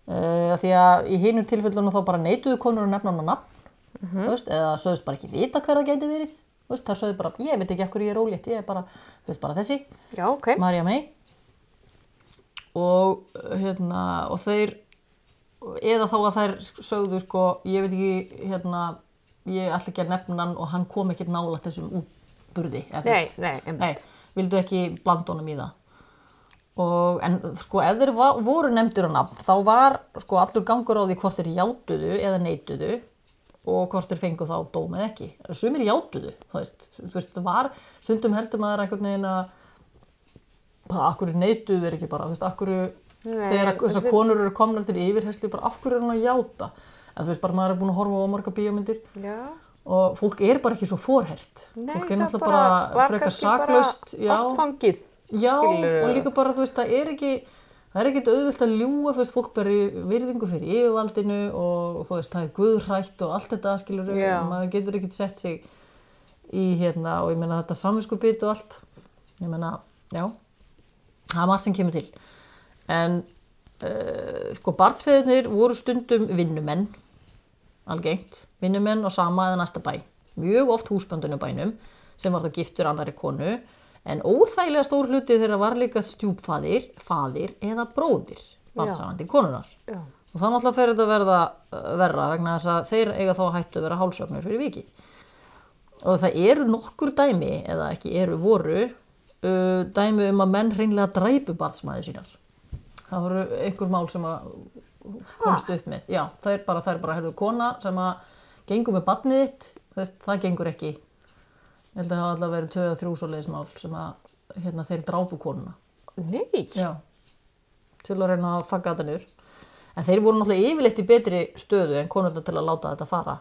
Uh, því að í hinum tilfellunum þá bara neituðu konur að nefna hann á nafn, þú veist, eða sögðust bara ekki vita hver það gæti verið, þú veist, það sögðu bara, ég veit ekki ekkur ég er ólétt, ég er bara, þú veist, bara þessi.
Já, ok.
Marja May og hérna og þeir eða þá að þær sögðu sko ég veit ekki hérna ég ætla ekki að nefna hann og hann kom ekki nála þessum útburði eða þú
Nei,
veist.
nei, einmitt.
nei, vildu ekki blanda honum í það og en sko ef þeir va- voru nefndur á nafn þá var sko allur gangur á því hvort þeir játuðu eða neituðu og hvort þeir fengu þá dómið ekki sumir játuðu, þú veist, þú veist það var, stundum heldur maður einhvern veginn að bara akkur neituðu þeir ekki bara, þú veist, akkur
Nei,
þegar að- þessar
við-
konur eru komnar til yfirherslu, bara af hverju er hann að játa en þú veist, bara maður er búin að horfa á marga bíómyndir
Já,
og fólk er bara ekki svo fórhert
nei,
fólk er
það
náttúrulega bara,
var
frekar
kannski bara
saklaust já,
Allt fangið.
já
skilurðu.
og líka bara, þú veist, það er ekki það er ekkit auðvöld að ljúga, þú veist, fólk ber í- virðingu fyrir yfirvaldinu og þú veist, það er guðrætt og allt þetta skilur,
Já.
maður getur ekkit sett sig í hérna og ég meina þetta samvinskupið og allt ég meina, já það er margt sem kemur til en uh, sko barnsfeðurnir voru stundum vinnumenn algengt, vinnumenn á sama eða næsta bæ mjög oft húsböndunum bænum sem var þá giftur annari konu en óþægilega stór hluti þeirra var líka stjúpfaðir, faðir eða bróðir barnsafandi konunar
Já,
og þá náttúrulega fer þetta að verða uh, verra vegna þess að þeir eiga þá að hættu að vera hálsögnur fyrir vikið og það eru nokkur dæmi eða ekki eru voru uh, dæmi um að menn hreinlega dræpu barnsmæði sínar það voru einhver mál sem að komst upp með já, það er bara, það er bara herðu kona sem að gengur með barnið þitt þú veist, það gengur ekki ég held að það hafa alltaf verið töða þrjú svoleiðis mál sem að hérna, þeir drápu konuna
nei.
Já, til að reyna að fagga þetta niður. En þeir voru náttúrulega yfirleitt í betri stöðu en konurna til að láta þetta fara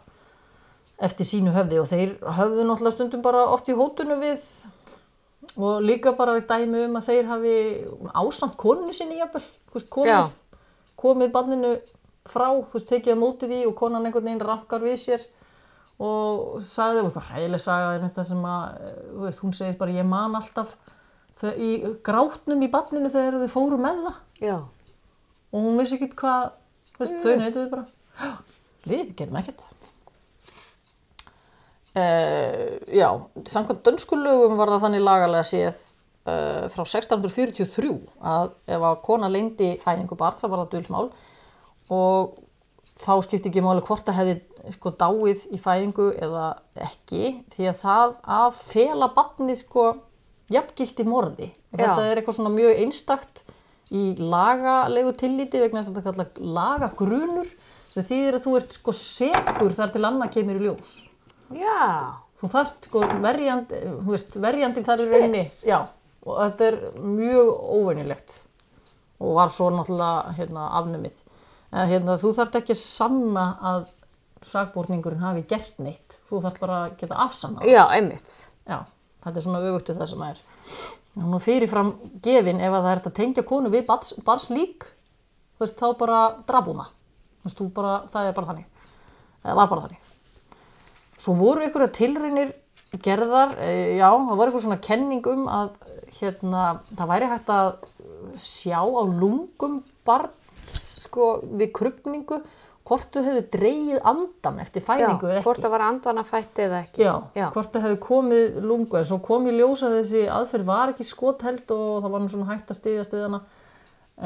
eftir sínu höfði og þeir höfðu náttúrulega stundum bara oft í hótunum við og líka bara við dæmi um að þeir hafi ásamt konunni sinni jafnvel, þú
Já.
veist, komið, komið banninu frá, þú veist, tekið á móti því og konan einhvern veginn rankar við sér og sagði þeim eitthvað hræðileg saga en þetta sem að, eh, þú veist, hún segir bara ég man alltaf þau, í grátnum í banninu þegar við fórum með það
Já,
og hún vissi ekkert hvað þú veist, þau neytuðu bara "Já, við gerum ekkert uh, já samkvæmt dönskulögum var það þannig lagalega séð uh, frá 1643 að ef að kona leyndi fæðingu barn þá var það dulsmál og þá skipti ekki máli hvort það hefði sko dáið í fæðingu eða ekki því að það að fela barnið sko jafngilti morði og
Já.
þetta er eitthvað svona mjög einstakt í lagalegu tilliti vegna þess að þetta kalla lagagrunur sem þýðir að þú ert sko segur þar til annað kemur í ljós.
já,
Þú þart sko verjandi, þú veist, verjandin þar í rauninni. Já, og þetta er mjög óvenjulegt og var svo náttúrulega hérna, afnumið. En, hérna, þú þarft ekki að sanna að sakborningurinn hafi gert neitt. Þú þarft bara að geta afsannað.
Já, einmitt.
Já, þetta er svona öfugt við það sem það er. Hún er fyrirfram gefin ef að það er hægt að tengja konu við bars, bars lík, þú veist, þá bara drabuna. Þú veist, þú bara, það er bara þannig. Það var bara þannig. Svo voru ykkur tilraunir gerðar, e, já, það voru ykkur svona kenning um að, hérna, það væri hægt að sjá á lungum barns, sko, við krupningu, hvort þú hefur dreigið andan eftir fæðingu
Já,
eða ekki.
hvort það var andvana fætt eða ekki.
Já, hvort það hefði komið lungu en svo kom ég ljósa þessi aðferð var ekki skotheld og það var nú svona hægt að stiðja stiðjana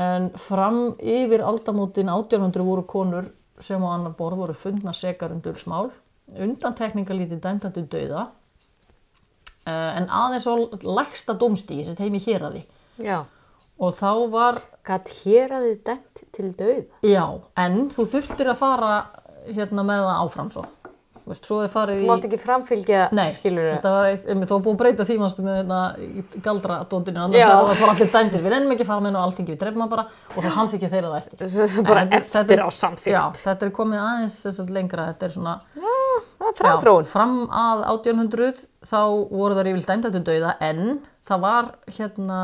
en fram yfir aldamótin 1800 voru konur sem á annar borð voru fundna sekar undur smál undan tekningalítið dæmtandi dauða eh, en aðeins á lægsta domstíði sem heimi hér að því
Já.
og þá var
Gat hér að þið dæmt til dauða?
já, en þú þurftir að fara hérna með það áfram svo Þú Veist, svo þið farið
Þú mátt ekki framfylgja,
Nei,
skilur það.
þetta var eitt, einmitt, þá var búið að breyta því mannstu með hérna, þetta galdra dóndinu,
Já.
þannig að það var allir dæmdir, við ennum ekki að fara með nú alþingi, við drefum það bara og svo samþykja þeirra það eftir.
Svo- svo bara
En þetta-
eftir á samþykkt.
Já, þetta er komið aðeins sem sagt, lengra, þetta er svona...
Það er framþróun.
Já, fram að 1800 þá voru það yfir dæmdættu dauða en það var hérna...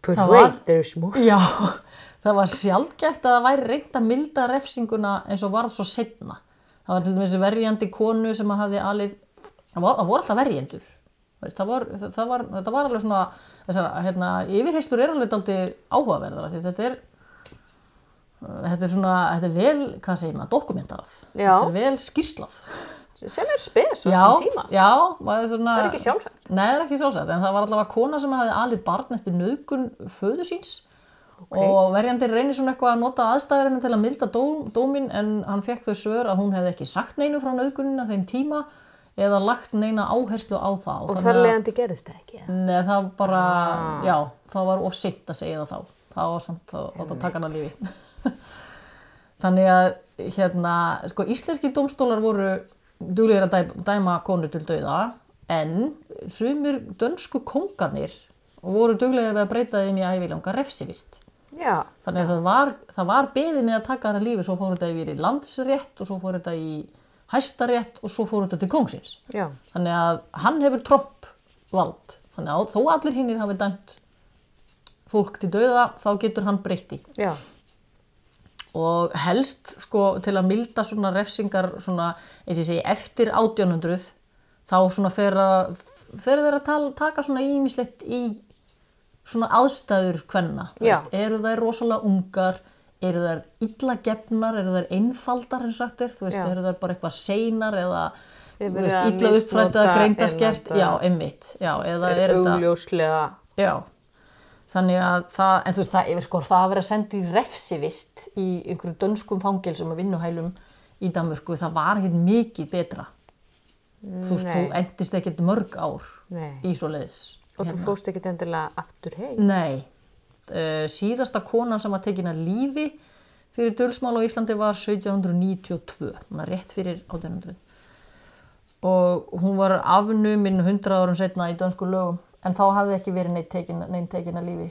But
Það var-
wait, there's more.
Já, það var sjálfgæft að það væri reynd að milda refsinguna eins og varð svo setna. Það var til dæmis verjandi konu sem að hafði alið, það, var, það voru alltaf verjendur. Þú veist, Það var, það, það var, þetta var alveg svona, þessar, hérna, yfirheyslur er alveg aldrei áhugaverðara því þetta er, uh, þetta er svona, þetta er vel, hvað segir maður, dokumentarað.
Já.
Þetta er vel skýrslað.
Sem er spes á
Já,
þessum tíma.
já, maður svona...
Það er ekki sjálfsagt.
Nei, það er ekki sjálfsagt, en það var allavega kona sem hafði alið barn eftir nöðgun föðu síns og verjandi reynir svona eitthvað að nota aðstæðurinn til að milda dó, dómin en hann fekk þau svör að hún hefði ekki sagt neinu frá nöðgunina þeim tíma eða lagt neina áherslu á það.
Og
þannig
þar
að-
leiðandi gerðist það ekki. eða?
Nei, það bara, já, það var of sitt að segja það þá. Það var samt, það átt að taka hann að lífi. Þannig að, hérna, sko, íslenski dómstólar voru duglegir að dæma, dæma konu til dauða, en sumir dönsku kongarnir voru duglegir við að breyta þeim í ævilanga refsivist.
Já.
Þannig að það var, það var beðið með að taka hann að lífi, svo fór þetta yfir í landsrétt og svo fór þetta í hæstarétt og svo fór þetta til kongsins.
Já.
Þannig að hann hefur tromp vald. Þannig að þó allir hinnir hafi dæmt fólk til dauða, þá getur hann breytti.
Já.
Og helst sko til að milda svona refsingar svona, eins og ég segi, eftir 1800 þá svona fer að fer þeir að tala, taka svona ímislegt í svona aðstæður hvenna. Þú
Já.
veist, Eru þær rosalega ungar, eru þær illa gefnar, eru þær einfaldar eins og sagt er, þú veist,
Já.
eru þær bara eitthvað seinar eða
Er
þú
verið
veist,
að
illa uppfrætt eða
misnota
greindaskert,
innlenda-
já, einmitt, já, eða
Það er
er þetta,
augljóslega.
já. Þannig að það, en þú veist, það, yfir, sko, það að vera sendur í refsivist í einhverju dönskum fangilsum og vinnuhælum í Danmörku, það var ekkert mikið betra. Þú veist, þú
Nei.
endist ekkert mörg ár
Nei.
í svo leiðis.
Og þú fórst ekkit endilega aftur heim.
Nei, uh, síðasta konan sem var tekin að lífi fyrir dölsmál á Íslandi var 1792, hún er rétt fyrir 1800. Og hún var afnumin 100 árum setna í dönsku lögum, en þá hafði ekki verið neitt tekin, neitt tekin að lífi.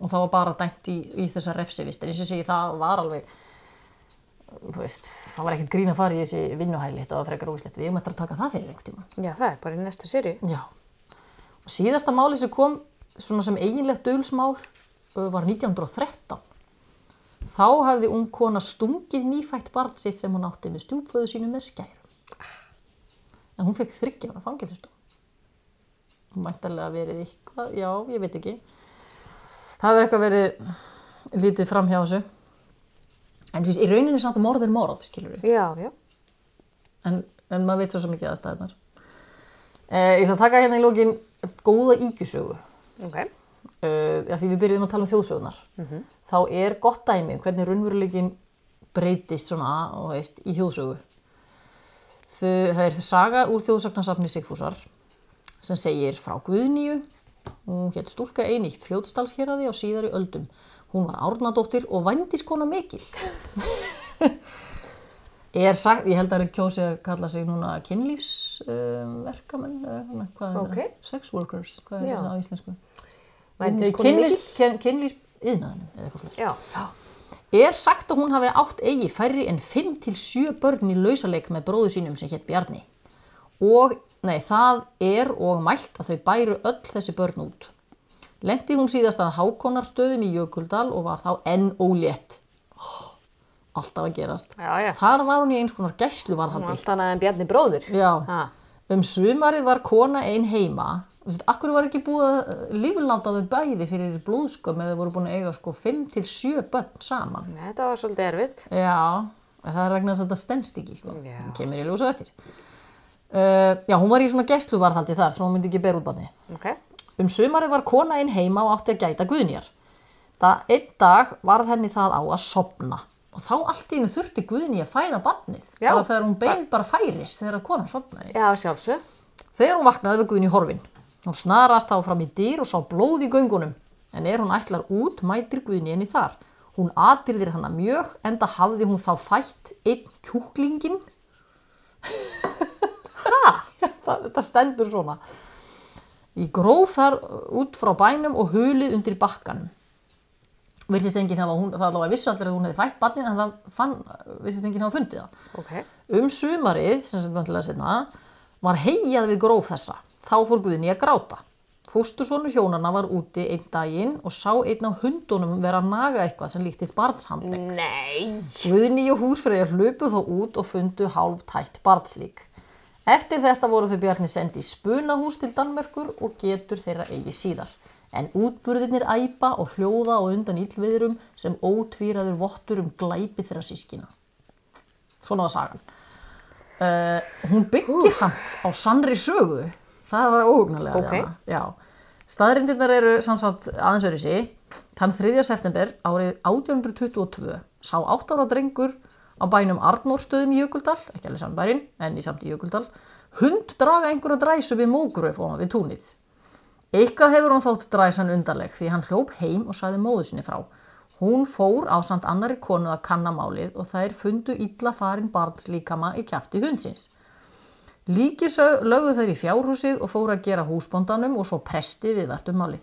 Og það var bara dæmt í, í þessa refsivist, en eins og ég segi það var alveg, þú veist, það var ekkert grín að fara í þessi vinnuhæli, þetta var frekar ógislegt, við erum eftir að taka það fyrir einhvern tíma.
Mm. Já, það er bara í næstu seri.
Já. Og síðasta máli sem kom svona sem eiginlegt dulsmál var 1913. Þá hafði ung kona stungið nýfætt barn sitt sem hún átti með stjúpföðu sínu með skærum. En hún fekk þryggjára fangilsistóm. Hún mæntalega verið eitthvað, já, ég veit ekki. Það hefur eitthvað verið lítið fram hjá þessu. En þú veist, í rauninni er samt morð er morð, skilur við
Já, já.
en, en maður veit svo sem ekki aðstæðnar. Eh, ég ætla að taka hérna í lókin góða ígjusögu,
Ok.
eh, af því við byrjuðum að tala um þjóðsögunar.
Mhm.
Þá er gott dæmi um hvernig raunveruleikin breytist svona, og veist, í þjóðsögu. Þau, það er saga úr þjóðsagnasafni Sigfúsar sem segir frá Guðnýju, hún hétt stúlka eini í fljótsdalsheraði á síðari öldum. Hún var árnadóttir og vændiskona mikil. er sagt, ég held að það er kjósið að kalla sig núna kynlífsverkamenn, um, uh, hvað er
Ok.
það? Sex workers, hvað er
Já.
það á íslensku?
Vændiskona
Kynlífs- kyn- Kynlífs, yðnaðinum eða eitthvað slúst.
já,
Er sagt að hún hafi átt eigi færri en 5-7 börn í lausaleik með bróðu sínum sem hétt Bjarni. Og, nei, það er og mælt að þau bæru öll þessi börn út. Lendi hún síðast að hákonarstöðum í Jökuldal og var þá enn ólétt. Oh, alltaf að gerast.
já, já.
Þar var hún í eins konar
Hún
gæsluvarðhaldi.
var allt annað en Bjarni bróðir.
Já.
Ha.
Um sumarið var kona einn heima. Þú veist, Akkur var ekki búið að eh, lífláta þau bæði fyrir blóðskömm eða þau voru búin að eiga sko 5-7 börn saman.
Nei, Þetta var svolítið erfitt.
Já, en það er vegna þess að þetta stendst ekki, sko.
Já.
Hún Kemur í ljósa eftir. Uh, já, hún var í svona gæsluvarðhaldi þar, svo hún myndi ekki bera út barnið.
Ok,
Um sumarið var kona einn heima og átti að gæta guðnýjar. Það einn dag varð henni það á að sopna. Og þá allt í henni þurfti guðnýja að fæða barnið.
Já.
Bara þegar hún beigð bara færist þegar konan sopnaði.
já, sjálfsög.
Þegar hún vaknaði við Guðni horfin. Hún snarast þá fram í dyr og sá blóð í göngunum. En er hún ætlar út, mætir Guðni henni þar. Hún atirðir hana mjög, enda hafði hún þá fætt einn kjúklingin. Hæ? Þetta stendur svona. Í gróf þar út frá bænum og hulið undir bakkanum. Virðist enginn hafa, hún, það allavega vissu allir að hún hefði fætt barnið, en það fann, virðist enginn hafa fundið það.
Ok,
Um sumarið, sem sem vantilega setna, var heigjað við gróf þessa. Þá fór Guðni að gráta. Fóstursonur hjónana var úti einn daginn og sá einn á hundunum vera að naga eitthvað sem líktist barnshandleg.
nei.
Guðni og húsfreyjar hlupu þó út og fundu hálf tætt barnslík. Eftir þetta voru þau bjarni sendi í spunahús til Danmerkur og getur þeirra eigi síðar. En útburðinir æpa og hljóða á undan illviðrum sem ótvíraður vottur um glæpi þeirra sískina. Svona var sagan. Uh, hún byggir samt á sannri sögu. Það var óhugnulega.
Ok.
Já. Staðrindirnar eru samsagt aðeins öðru sí. Þann 3. september árið 1822 sá 8 ára drengur á bænum Arnórstöðum í Jökuldal, ekki alveg saman bærin, en í samt í Jökuldal, hund draga einhverja dræsu við mógröf og við túnið. Eitthvað hefur hún þótt dræsan undarleg því hann hljóp heim og saði móðu sinni frá. Hún fór á samt annari konu að kanna málið og þær fundu illa farin barnslíkama í kjafti hundsins. Líkisau lögðu þær í fjárhúsið og fóru að gera húsbóndanum og svo presti við þartum málið.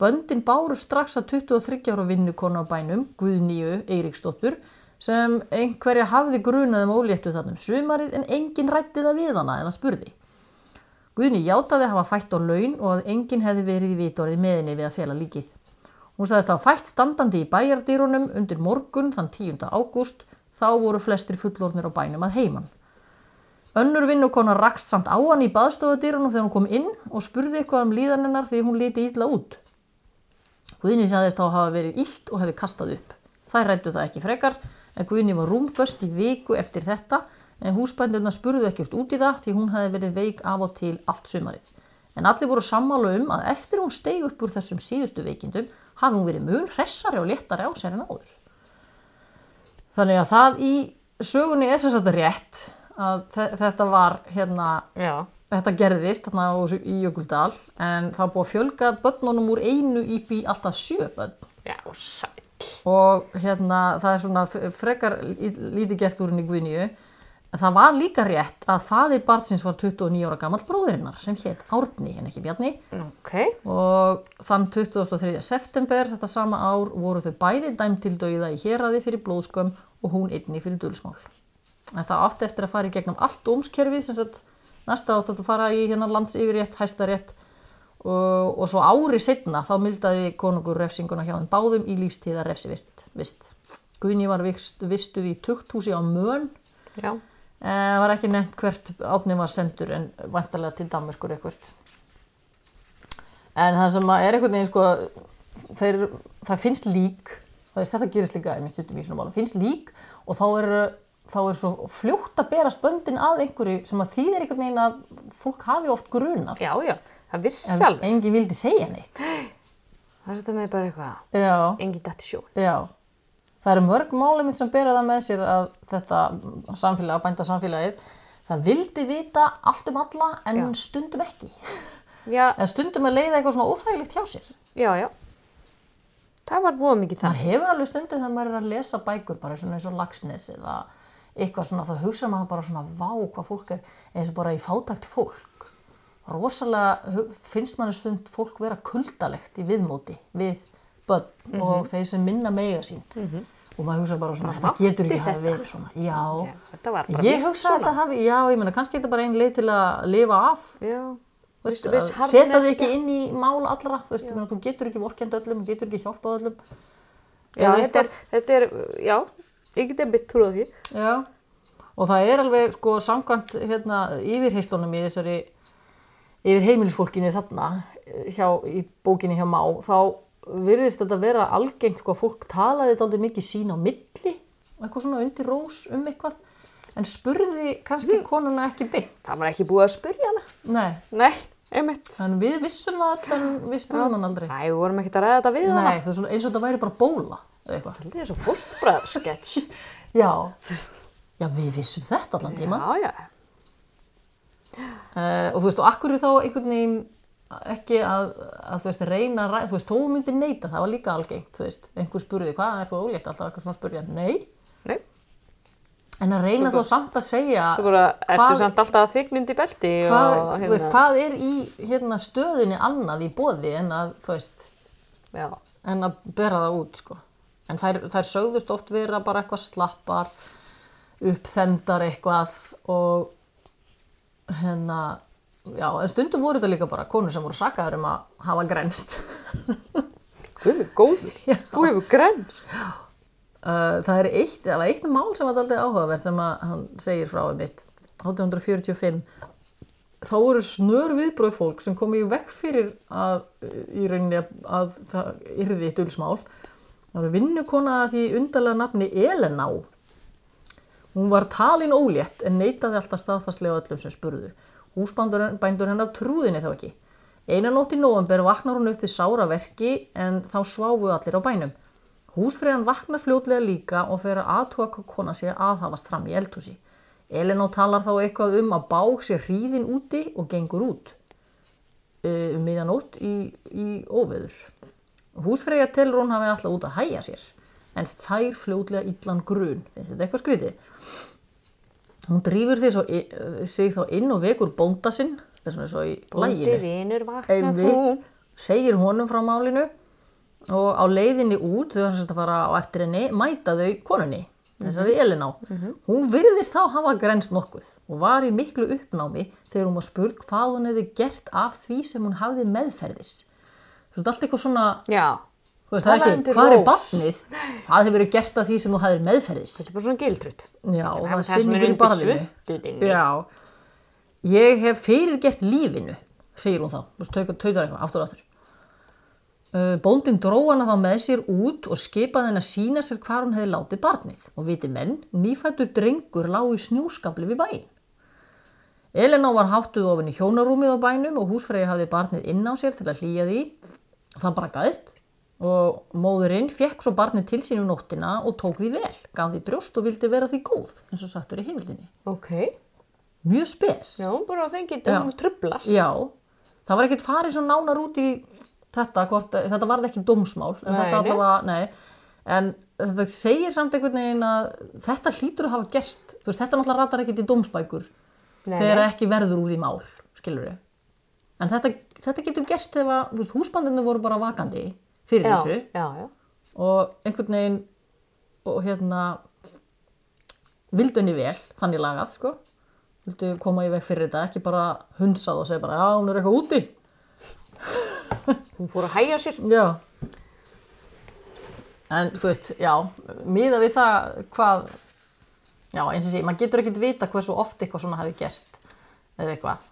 Böndin báru strax að 23 ára vinnukonu á bænum, Guðnýju Eiríksdóttur, sem einhverja hafði grunað um óléttu þarna um sumarið en enginn rætti það við hana eða spurði. Guðni játaði að hafa fætt á laun og að enginn hefði verið í vitorði með henni við að fela líkið. Hún sagðist að fætt standandi í bæjardýrunum undir morgun þann 10. ágúst, þá voru flestir fullornir á bænum að heiman. Önnur vinnukona rakst samt á hann í baðstofadýrunum þegar hún kom inn og spurði eitthvað um líðaninnar því hún liti illa út. Guðni sagðist þá að hafa verið illt og hefði kastað upp. Þær rættu það ekki frekar en Guðni var rúmföst í viku eftir þetta en húsbændurna spurðu ekkert út í það því hún hefði verið veik af og til allt sumarið. En allir voru sammála um að eftir hún steig upp úr þessum síðustu veikindum hafi hún verið mun hressari og léttari á sér en áður. Þannig að það í sögunni er sem sagt rétt að þe- þetta var hérna,
Já,
þetta gerðist þarna á þessu- í Jökuldal en það var búið að fjölga börnunum úr einu upp í alltaf sjö börn
já, sæl.
og hérna það er svona f- frekar lí- lítið gert úr henni Guðnýju. Það var líka rétt að faðir barnsins var 29 ára gamall bróðurinnar sem hétt Árni en ekki Bjarni
Ok,
og þann 23. september þetta sama ár voru þau bæði dæmt til dauða í héraði fyrir blóðskömm og hún einni fyrir dulsmál. En það átti eftir að fara í gegnum allt dómskerfið sem sagt næsta átti að fara í hérna landsyfirrétt, hæstarétt og, og svo ári setna þá mildaði konungur refsinguna hjá þeim báðum í lífstíða refsivist. Vist. Guðni var vist, vistuð í tukthúsi á mön
já,
Það Eh, var ekki nefnt hvert átni var sendur en vantarlega til Danmarkur eitthvað. En það sem að er einhvern veginn sko, þeir, það finnst lík, það veist, þetta gerist líka, ég stundum í svona mála, finnst lík og þá er, þá er svo fljótt að berast böndin að einhverju sem að þýðir einhvern veginn að fólk hafi oft grunað.
já, já. Það vissi
En
alveg.
enginn vildi segja neitt.
Það er þetta með bara eitthvað.
Já.
Engin dætt í sjón.
Já, það eru mörg málemitt sem bera það með sér að þetta samfélag, bænda samfélagið, það vildi vita allt um alla en
Já.
stundum ekki.
Já,
En stundum að leiða eitthvað svona óþægilegt hjá sér.
já, já. Það var voða mikið það.
Maður hefur alveg stundum þegar maður er að lesa bækur bara svona eins og lagsnes eða eitthvað svona, þá hugsa maður bara svona vá hvað fólk er eins og bara í fátækt fólk. Rosalega hu- finnst manni stund fólk vera kuldalegt í viðmóti við börn
Mhm.
og þeir sem minna meiga sín og maður hugsa bara svona, þetta
mátti
getur ekki hafa
þetta."
verið svona já,
Já, þetta var bara
ég
víst
hugsa að þetta hafi, já, ég meina kannski er þetta bara ein leið til að lifa af
Já,
Þú veist,
Viss-
að
viss
setja þig
harðneskja.
ekki inn í mál allra þú, veist, ég meina, þú getur ekki vorkend öllum, þú getur ekki hjálpað öllum
já
Eða
þetta,
eitthvað.
er, þetta er, já, ég geti einmitt trúið því.
Já, og það er alveg sko samkvæmt hérna yfirheistunum í þessari yfir heimilisfólkinu þarna eh, hjá, í bókinni hjá Má þá virðist þetta vera algengt sko að fólk talaði þetta aldrei mikið sín á milli eitthvað svona undir rós um eitthvað en spurði kannski konuna ekki beint
Það var ekki búið að spyrja hana.
Nei,
Nei, einmitt.
en við vissum það öll en við spurðum hann aldrei
Næ, við vorum ekkert að ræða þetta við hana.
Nei, það er svona eins og þetta væri bara bóla eða eitthvað
Þetta er svo fórstbræðarsketch.
Já, já við vissum þetta allan tíma
já, já.
Uh, og þú veist, og akkur er þá einhvern veginn ekki að, að þú veist, reyna að ræða, þú veist, þú myndir neita, það var líka algengt, þú veist, einhver spurði, hvað er þú ólétt, alltaf eitthvað svona spurði, nei,
Nei,
en að reyna þá samt að segja,
svo bara, ertu
Hvað-
samt alltaf þykmynd í belti
hvað,
og hérna,
þú veist, hvað er í hérna stöðunni annað í bóði en að, þú veist,
Já,
en að bera það út, sko, en þær, þær sögðust oft vera bara eitthvað slappar, uppþemdar eitthvað og hérna, já, en stundum voru þetta líka bara konur sem voru sakaður um að hafa grænst.
guð mig góður, þú hefur grænst.
Uh, það er eitt, það var eitt mál sem var aldrei áhugaverð sem að hann segir frá um mitt 1845 þá voru snör viðbröð fólk sem komi í vekk fyrir að í rauninni að, að það yrði dulsmál það voru vinnukona að því undarlega nafni Elená hún var talin ólétt en neitaði alltaf staðfastlega öllum sem spurðu húsbændur bændur hennar trúðinni þá ekki einan nótt í nóvember vaknar hún upp við sára verki en þá sváfu allir á bænum Húsfriðan vaknar fljótlega líka og fer að aðtúa hvað kona sé að aðhafast fram í eldhúsi. Elinó talar þá eitthvað um að bág sé hríðin úti og gengur út eh, um miðanótt í, í óveður. Húsfreyja telur hún hafi alltaf út að hæja sér, en fær fljótlega illan grun, finnst þetta eitthvað skrítið. Hún drýfur því svo, i- sig þá inn og vekur bónda sinn, þetta er svona svo í læginu.
Bóndi vinur vakna þú.
Einmitt, segir honum frá málinu og á leiðinni út, þau þess að fara á eftir henni, mæta þau konunni, þessari
Mhm.
Eliná. Hún virðist þá hafa grenst nokkuð og var í miklu uppnámi þegar hún var spurð hvað hún hefði gert af því sem hún hafði meðferðis. Þú veist, allt eitthvað svona,
Já,
þú veist, það er
Talaðu
ekki,
undir
hvað
rós."
er barnið? Hvað hefur verið gert af því sem þú hafði meðferðis?
þetta er bara svona gildrut.
Já, og það
það
er
sem er
sinningur í
undir
barðinu.
svuntuðinni.
Já, ég hef fyrirgert lífinu, segir hún þá, Þú veist, tautar tautar eitthvað, aftur og aftur. Uh, Bóndin dró hana þá með sér út og skipaði henn að sína sér hvar hún hefði látið barnið. Og viti menn, nýfættur drengur lág í snjúskabli við bæinn. Elena var háttuð ofin í hjónarúmið á bænum og húsfreyja hafði barnið inn á sér til að hlýja því. Það brakaðist og móðurinn fekk svo barnið til sín um nóttina og tók því vel, gaf því brjóst og vildi vera því góð, eins og sattur í heimildinni.
Ok,
Mjög spes.
já, hún bara fengið um trublast.
Já, það var ekkert farið svo nánar út í þetta, hvort, eh, þetta varð ekki dómsmál, en
Nei,
þetta
nei.
allavega, nei, en þetta segir samt einhvern veginn að þetta hlýtur að hafa gerst, þú veist, þetta náttúrulega ratar ekkert í dómsbækur
Nei,
þegar
nei.
ekki verður úr því mál, skilur við. En þetta, þetta getur gerst ef að, þú veist, húsbandinu voru bara vakandi fyrir
Já, já,
þessu
já.
og einhvern veginn, og hérna, vildu henni vel, þannig lagað, sko, vildu koma í veg fyrir þetta, ekki bara hunsað og segja bara, já, hún er eitthvað úti.
Hún fór að hæja sér.
Já. En þú veist, já, miða við það hvað, já eins og sé, maður getur ekkert vita hversu oft eitthvað svona hafi gerst eða eitthvað.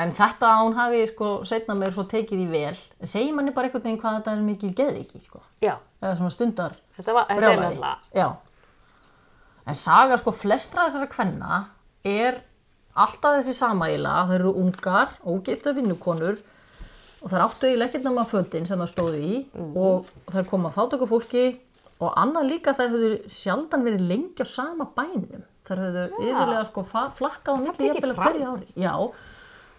En þetta að hún hafi sko setna meir svo tekið í vel, segir manni bara einhvern veginn hvað þetta er mikil geðviki, sko.
Já,
Eða svona stundar
þetta var, þetta er
brjálæði.
nefnilega.
Já. En saga sko flestra þessara kvenna er alltaf þessi samæla, þau eru ungar, ógifta vinnukonur og þær áttu eiginlega ekkert nema fötin sem það stóðu í
Mhm.
og þær koma að fátöku fólki og annað líka þær höfðu sjaldan verið lengi á sama bænum. Þær höfðu yfirlega sko fa- flakkað á milli
tekið
jafnvel á
fram.
hverju ári. Já,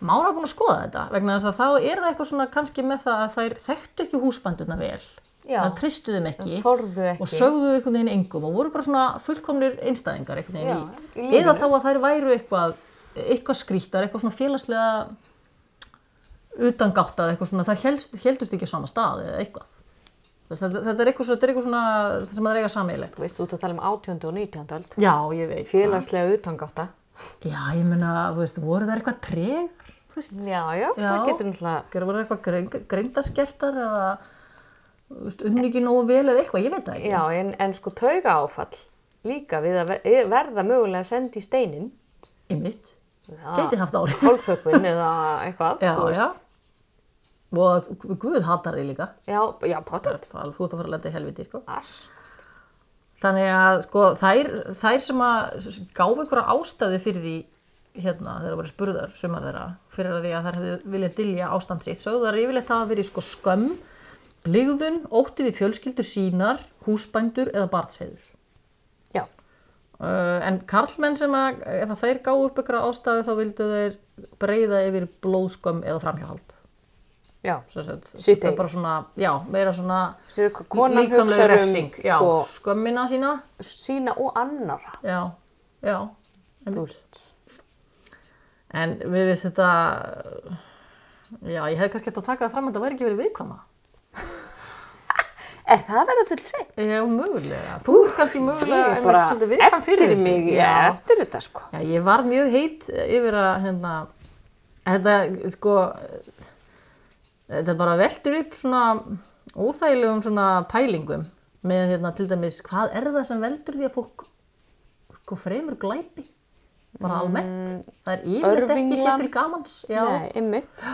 Mára búin að skoða þetta vegna þess að þá er það eitthvað svona kannski með það að þær þekktu ekki húsbænduna vel.
Já.
Það tristu þeim ekki
Þorðu ekki.
og sögðu einhvern veginn engum og voru bara svona fullkomnir einstæðingar einhvern veginn
Já, í lífinu.
í, eða þá að þær væru eitthvað eitthvað skrítar, eitthvað svona félagslega utangáttað, eitthvað svona þær heldust, heldust ekki á sama stað eða eitthvað Þess, þetta, þetta er eitthvað, svo- þetta er eitthvað svona það sem maður eiga sameiglegt.
Þú veist, þú ert að tala um 18. og 19. öld.
Já, ég veit.
Félagslega utangáta.
Já, ég meina, þú veist, voru það eitthvað tregar? Þú veist,
Já, já, það getur náttúrulega...
Gerðu voru eitthvað grein, greindaskertar eða þú veist, unni ekki nógu vel eða eitthvað, ég veit það ekki.
Já, en, en sko tauga áfall líka við að ver- verða mögulega sendi í steinin.
Í mitt. Gæti haft áhrif.
Hálsökun eða eitthvað.
Já,
þú veist.
já. Og að gu- Guð hatar þig líka.
Já, já, potet.
Það er alveg- Þú ert að fara að lenda í helviti, sko.
Ass.
Þannig að sko, þær, þær sem að gáfi einhverja ástæðu fyrir því hérna, þeirra voru spurðar, sumar þeirra, fyrir því að þær hefðu viljað dilja ástand sitt, sögðu þar yfirleitt hafa verið sko skömm, blygðun, ótti við fjölskyldu sínar, húsbændur eða barnsfeður.
Já,
Uh, en karlmenn sem að, ef að þeir gáðu upp einhverja ástæðu þá vildu þeir breyða yfir blóðskömm eða framhjáhald.
já.
Sem sagt,
Sitt
Það
eigið.
er bara svona, já, meira svona
Sér hvað konan
líkamleg
hugsar um
refsing, já,
sko,
skömmina sína,
sína og annara.
já, já,
Þú veist.
En við veist þetta, já, ég hefði kannski hægt að taka það fram að þetta væri ekki verið viðkvæma.
Er það að verða full seg?
Já, mögulega. Þú ert kannski mögulega einmitt svolítið viðkvæm
eftir
fyrir þessu.
mig, já,
já.
eftir þetta sko.
já, ég var mjög heit yfir að, hérna, þetta, sko, þetta bara veltir upp svona óþægilegum svona pælingum með, hérna, til dæmis, hvað er það sem veldur því að fólk, sko, fremur glæpi?
Mm,
Bara almennt. Það er yfirleitt ekki
Örvinglan.
hér til gamans. Já.
Nei, ymmit.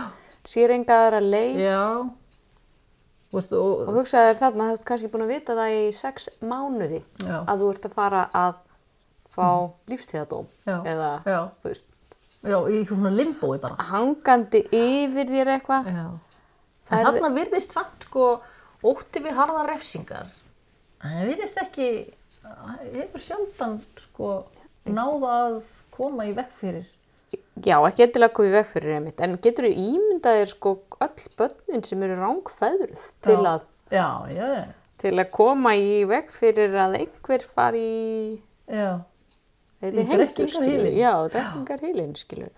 Sér enga aðra leið
Já. Þú Veist, og,
og hugsaði þér þarna, þú ert kannski búin að vita það í sex mánuði
Já.
að þú ert að fara að fá mm. lífstíðadóm
Já.
eða
Já.
þú veist,
já, í eitthvað svona limbói bara.
hangandi yfir þér eitthvað.
Já. En
Það er-
þarna virðist samt sko ótti við harða refsingar. En það virðist ekki, hefur sjaldan sko náða að koma í vekk fyrir.
Já, ekki endilega komið veg fyrir einmitt, en getur þú ímyndað þér sko öll börnin sem eru rángfæðruð til
Já.
að,
Já, já, já.
til að koma í veg fyrir að einhver fari í,
Já,
í
drekkingarhylinn.
Já, drekkingarhýlin, skilur.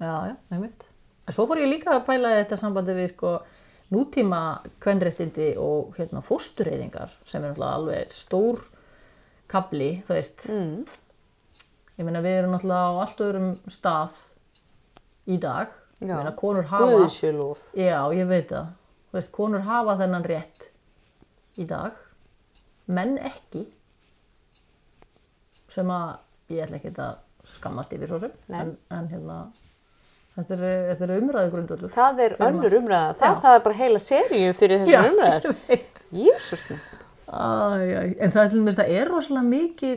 já, já, nefnitt. Svo fór ég líka að pæla í þetta sambandi við sko nútíma kvenréttindi og hérna fóstureyðingar sem er náttúrulega alveg stór kabli, þú veist,
Mm.
Ég meina við erum náttúrulega á allt öðrum stað í dag. Ég
Já.
meina konur hafa...
Guðsjölof.
Já, ég veit það. Þú veist, konur hafa þennan rétt í dag. Menn ekki. Sem að ég ætla ekki að skammast yfir svo sem.
Nei.
En, en hérna, þetta eru þetta er umræðu grundvöldur.
Það er önnur umræða, það,
Hérna. Já.
það er bara heila seríu fyrir þessar umræðar.
ég veit.
Jésus minn.
Æ, æ, en það er til dæmis, það er rosalega mikið,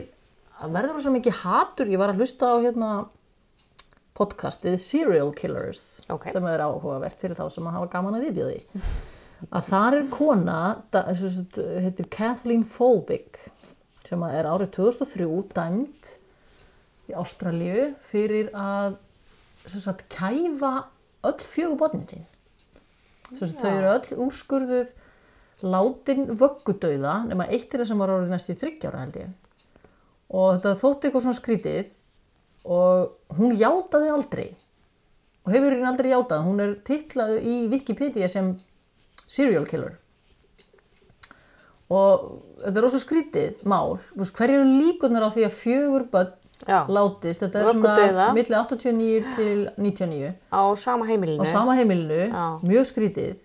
það verður rosalega mikið hatur, ég var að hlusta á hérna podcastið Serial Killers
Ok.
sem er áhugavert fyrir þá sem að hafa gaman að viðbjöði. Að þar er kona, það sem sagt, heitir Kathleen Folbig sem að er árið 2003 dæmd í Ástralíu fyrir að sem sagt, kæfa öll fjögur botnin sín. Sem sagt, þau eru öll úrskurðuð látin vöggudauða nema eitt er það sem var árið næstu í 30 ára held ég. Og þetta þótti eitthvað svona skrítið og hún játaði aldrei og hefur hún aldrei játað. Hún er titlað í Wikipedia sem serial killer. Og þetta er ósvo skrítið mál. Þú veist, Hverju eru líkunar á því að fjögur börn
Já,
látist, þetta er
Vöggudauða.
svona milli 89 til 99
á sama heimilinu.
á sama heimilinu,
Já.
mjög skrítið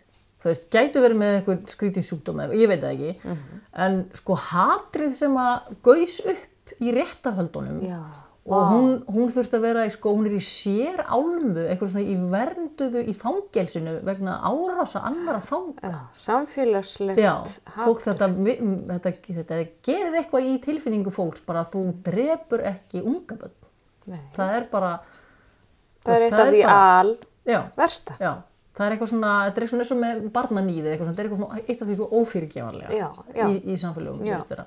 þú veist, gætu verið með eitthvað skrítið sjúkdóm eða eitthvað, ég veit það ekki
Mhm.
en sko hatrið sem að gaus upp í réttarhöldunum
Já,
og hún, hún þurfti að vera í sko, hún er í sér álmu eitthvað svona í vernduðu í fangelsinu vegna árása annara fang
já, samfélagslegt
Já,
hatur.
fólk þetta, mi- m- þetta, þetta gerir eitthvað í tilfinningu fólks bara að þú drepur ekki unga börn.
Nei,
Það er bara,
það er
veist,
eitt af því
bara-
al
já,
versta.
Já, það er eitthvað svona, þetta er eitthvað eins og með barnaníðið, eitthvað svona, þetta er eitthvað svona, eitt af því svo ófyrirgefanlega
Já, já.
í, í samfélögum.
Já.
þú veist þeirra.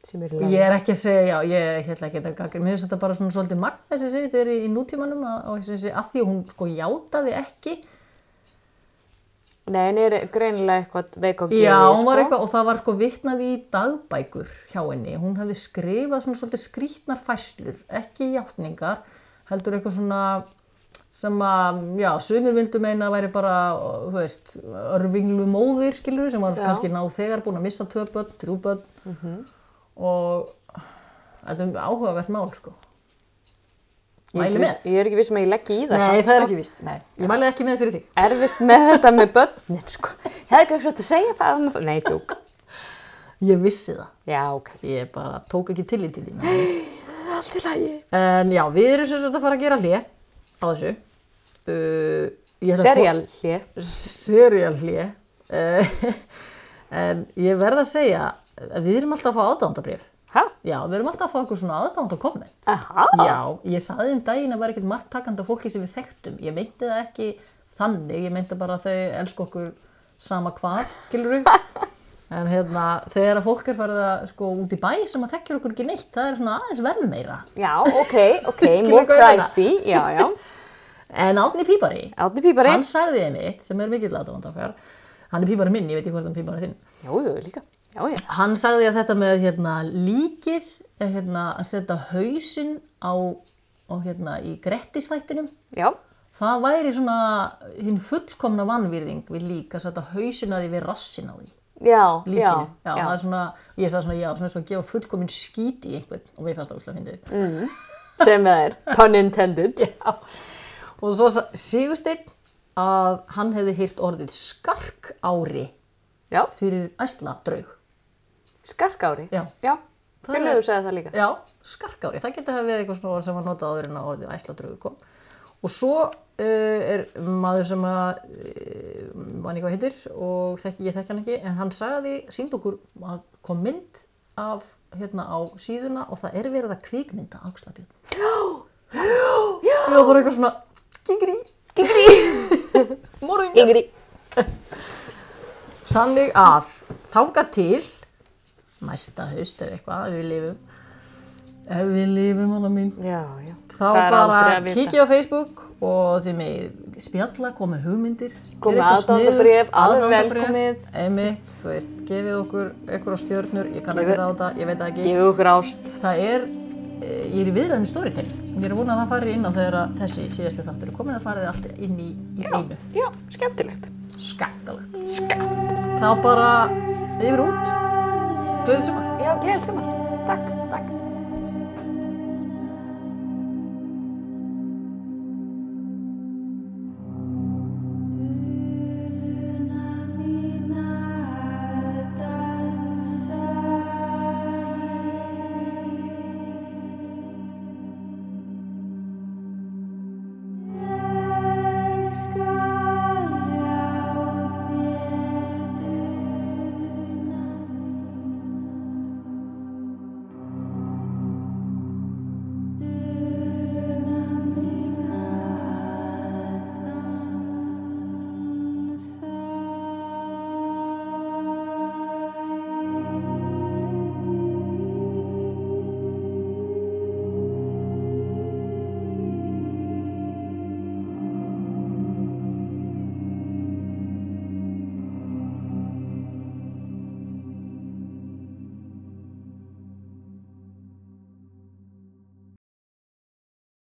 Sem er
Ég er ekki að segja, já, ég ætla ekki að gangra, mér finnst þetta bara svona svolítið magna þess að segja, þetta er í, í nútímanum að, að, þessi- að því að hún sko játaði ekki.
Nei, en er greinilega eitthvað veik á geði,
Já, hún var
sko.
eitthvað, og það var sko vitnað í dagbækur hjá henni, hún hafði skrifað svona svolítið skrítnar fæslur, ekki játningar, heldur eitthvað svona sem að, já, sumir vildu meina væri bara, þú veist, örvinglu móðir, skilur sem var
Já.
kannski ná þegar búin að missa tvö börn, þrjú börn Mhm. og þetta er áhugavert mál, sko.
Ég er
Mæli
ekki viss- ég er ekki viss um að ég leggi í það. samt,
það er
sko.
ekki víst, nei. Ég mæli ekki með fyrir því.
Erfitt með þetta með börnin, sko. Ég hefði ekki fyrir að segja það. annað- Nei, tjók.
Ég vissi það.
Já, ok.
Ég bara tók ekki tillit til því.
Það er allt í lagi.
En já, við erum sem sagt að fara að gera hlið á þessu. Uh, ég ætla að ko-
Serial hlið.
serial hlje Eh, en ég verð að segja að við erum alltaf að fá aðdándabrif
Hæ?
já, við erum alltaf að fá eitthvað svona aðdándakomment
Aha.
já, ég saði um daginn að vera ekkert marktakandi af fólki sem við þekktum ég meinti það ekki þannig, ég meinti bara að þau elsku okkur sama hvað, skilur við en hérna, þegar að fólk er farið að sko út í bæ sem að þekkjur okkur ekki neitt það er svona aðeins verð meira
Já, ok, ok. More
hvað er það?
pricey. Já, já.
en Átni Pípari,
Átni pípari.
hann sagði einmitt sem er mikill aðdánda okkar hann er pípari minn, ég veit ekki hvort hann pípari þinn
Jú, jú, líka. Já, já.
Hann sagði að þetta með hérna, líkið, eh, hérna, að setja hausinn á, á hérna, í grettisvættinum,
Já.
það væri svona hinn fullkomna vannvirðing við lík að setja hausinn að því við rassin á því.
Já,
Líkinu.
já.
já, það er svona, ég sagði svona, já, svona svo að gefa fullkomin skít í einhvern og við fannst að úsla fyndið.
Sem það er. Pun intended.
Já, og svo sa- Sigursteinn að hann hefði hýrt orðið skark ári
Já.
fyrir æsla draug.
Skarkári.
Já.
Já.
Það er-
Fjölögur segði það líka.
Já, skarkári, það getur að vera eitthvað svona orð sem var notað áður en að orðið æsladrögu kom. Og svo uh, er maður sem að, uh, mann eitthvað heitir og þekki, ég þekki hann ekki, en hann sagði, sínd okkur, hann kom mynd af, hérna á síðuna og það er verið að kvikmynda ákslabjörn. Já, já, já. Það var bara eitthvað svona, kikri, kikri, morðingja.
Yngri.
Þannig að þanga til næsta haust eða eitthvað, ef við lifum, ef við lifum hana mín,
Já, já.
þá
Það er
bara
aldrei að vita.
kikið á Facebook og þið með spjalla, komið hugmyndir
Komið
gerið eitthvað
aðdáendabréf,
sniðugt,
alveg
aðdáendabréf,
velkomið.
einmitt, þú veist, gefið okkur einhverja stjörnur, ég kann
Ég
ekki
veit-
það á þetta, ég veit það ekki
Gefið okkur ást.
það er, eh, ég er í viðræðum í storytelling ég er að vona að það fari inn á þegar að þessi síðasti þáttur er komin að farið allt inn í, í einu
Já, skemmtilegt.
skaktalegt þá bara yfir út gleðið sumar
Já, gleðið saman.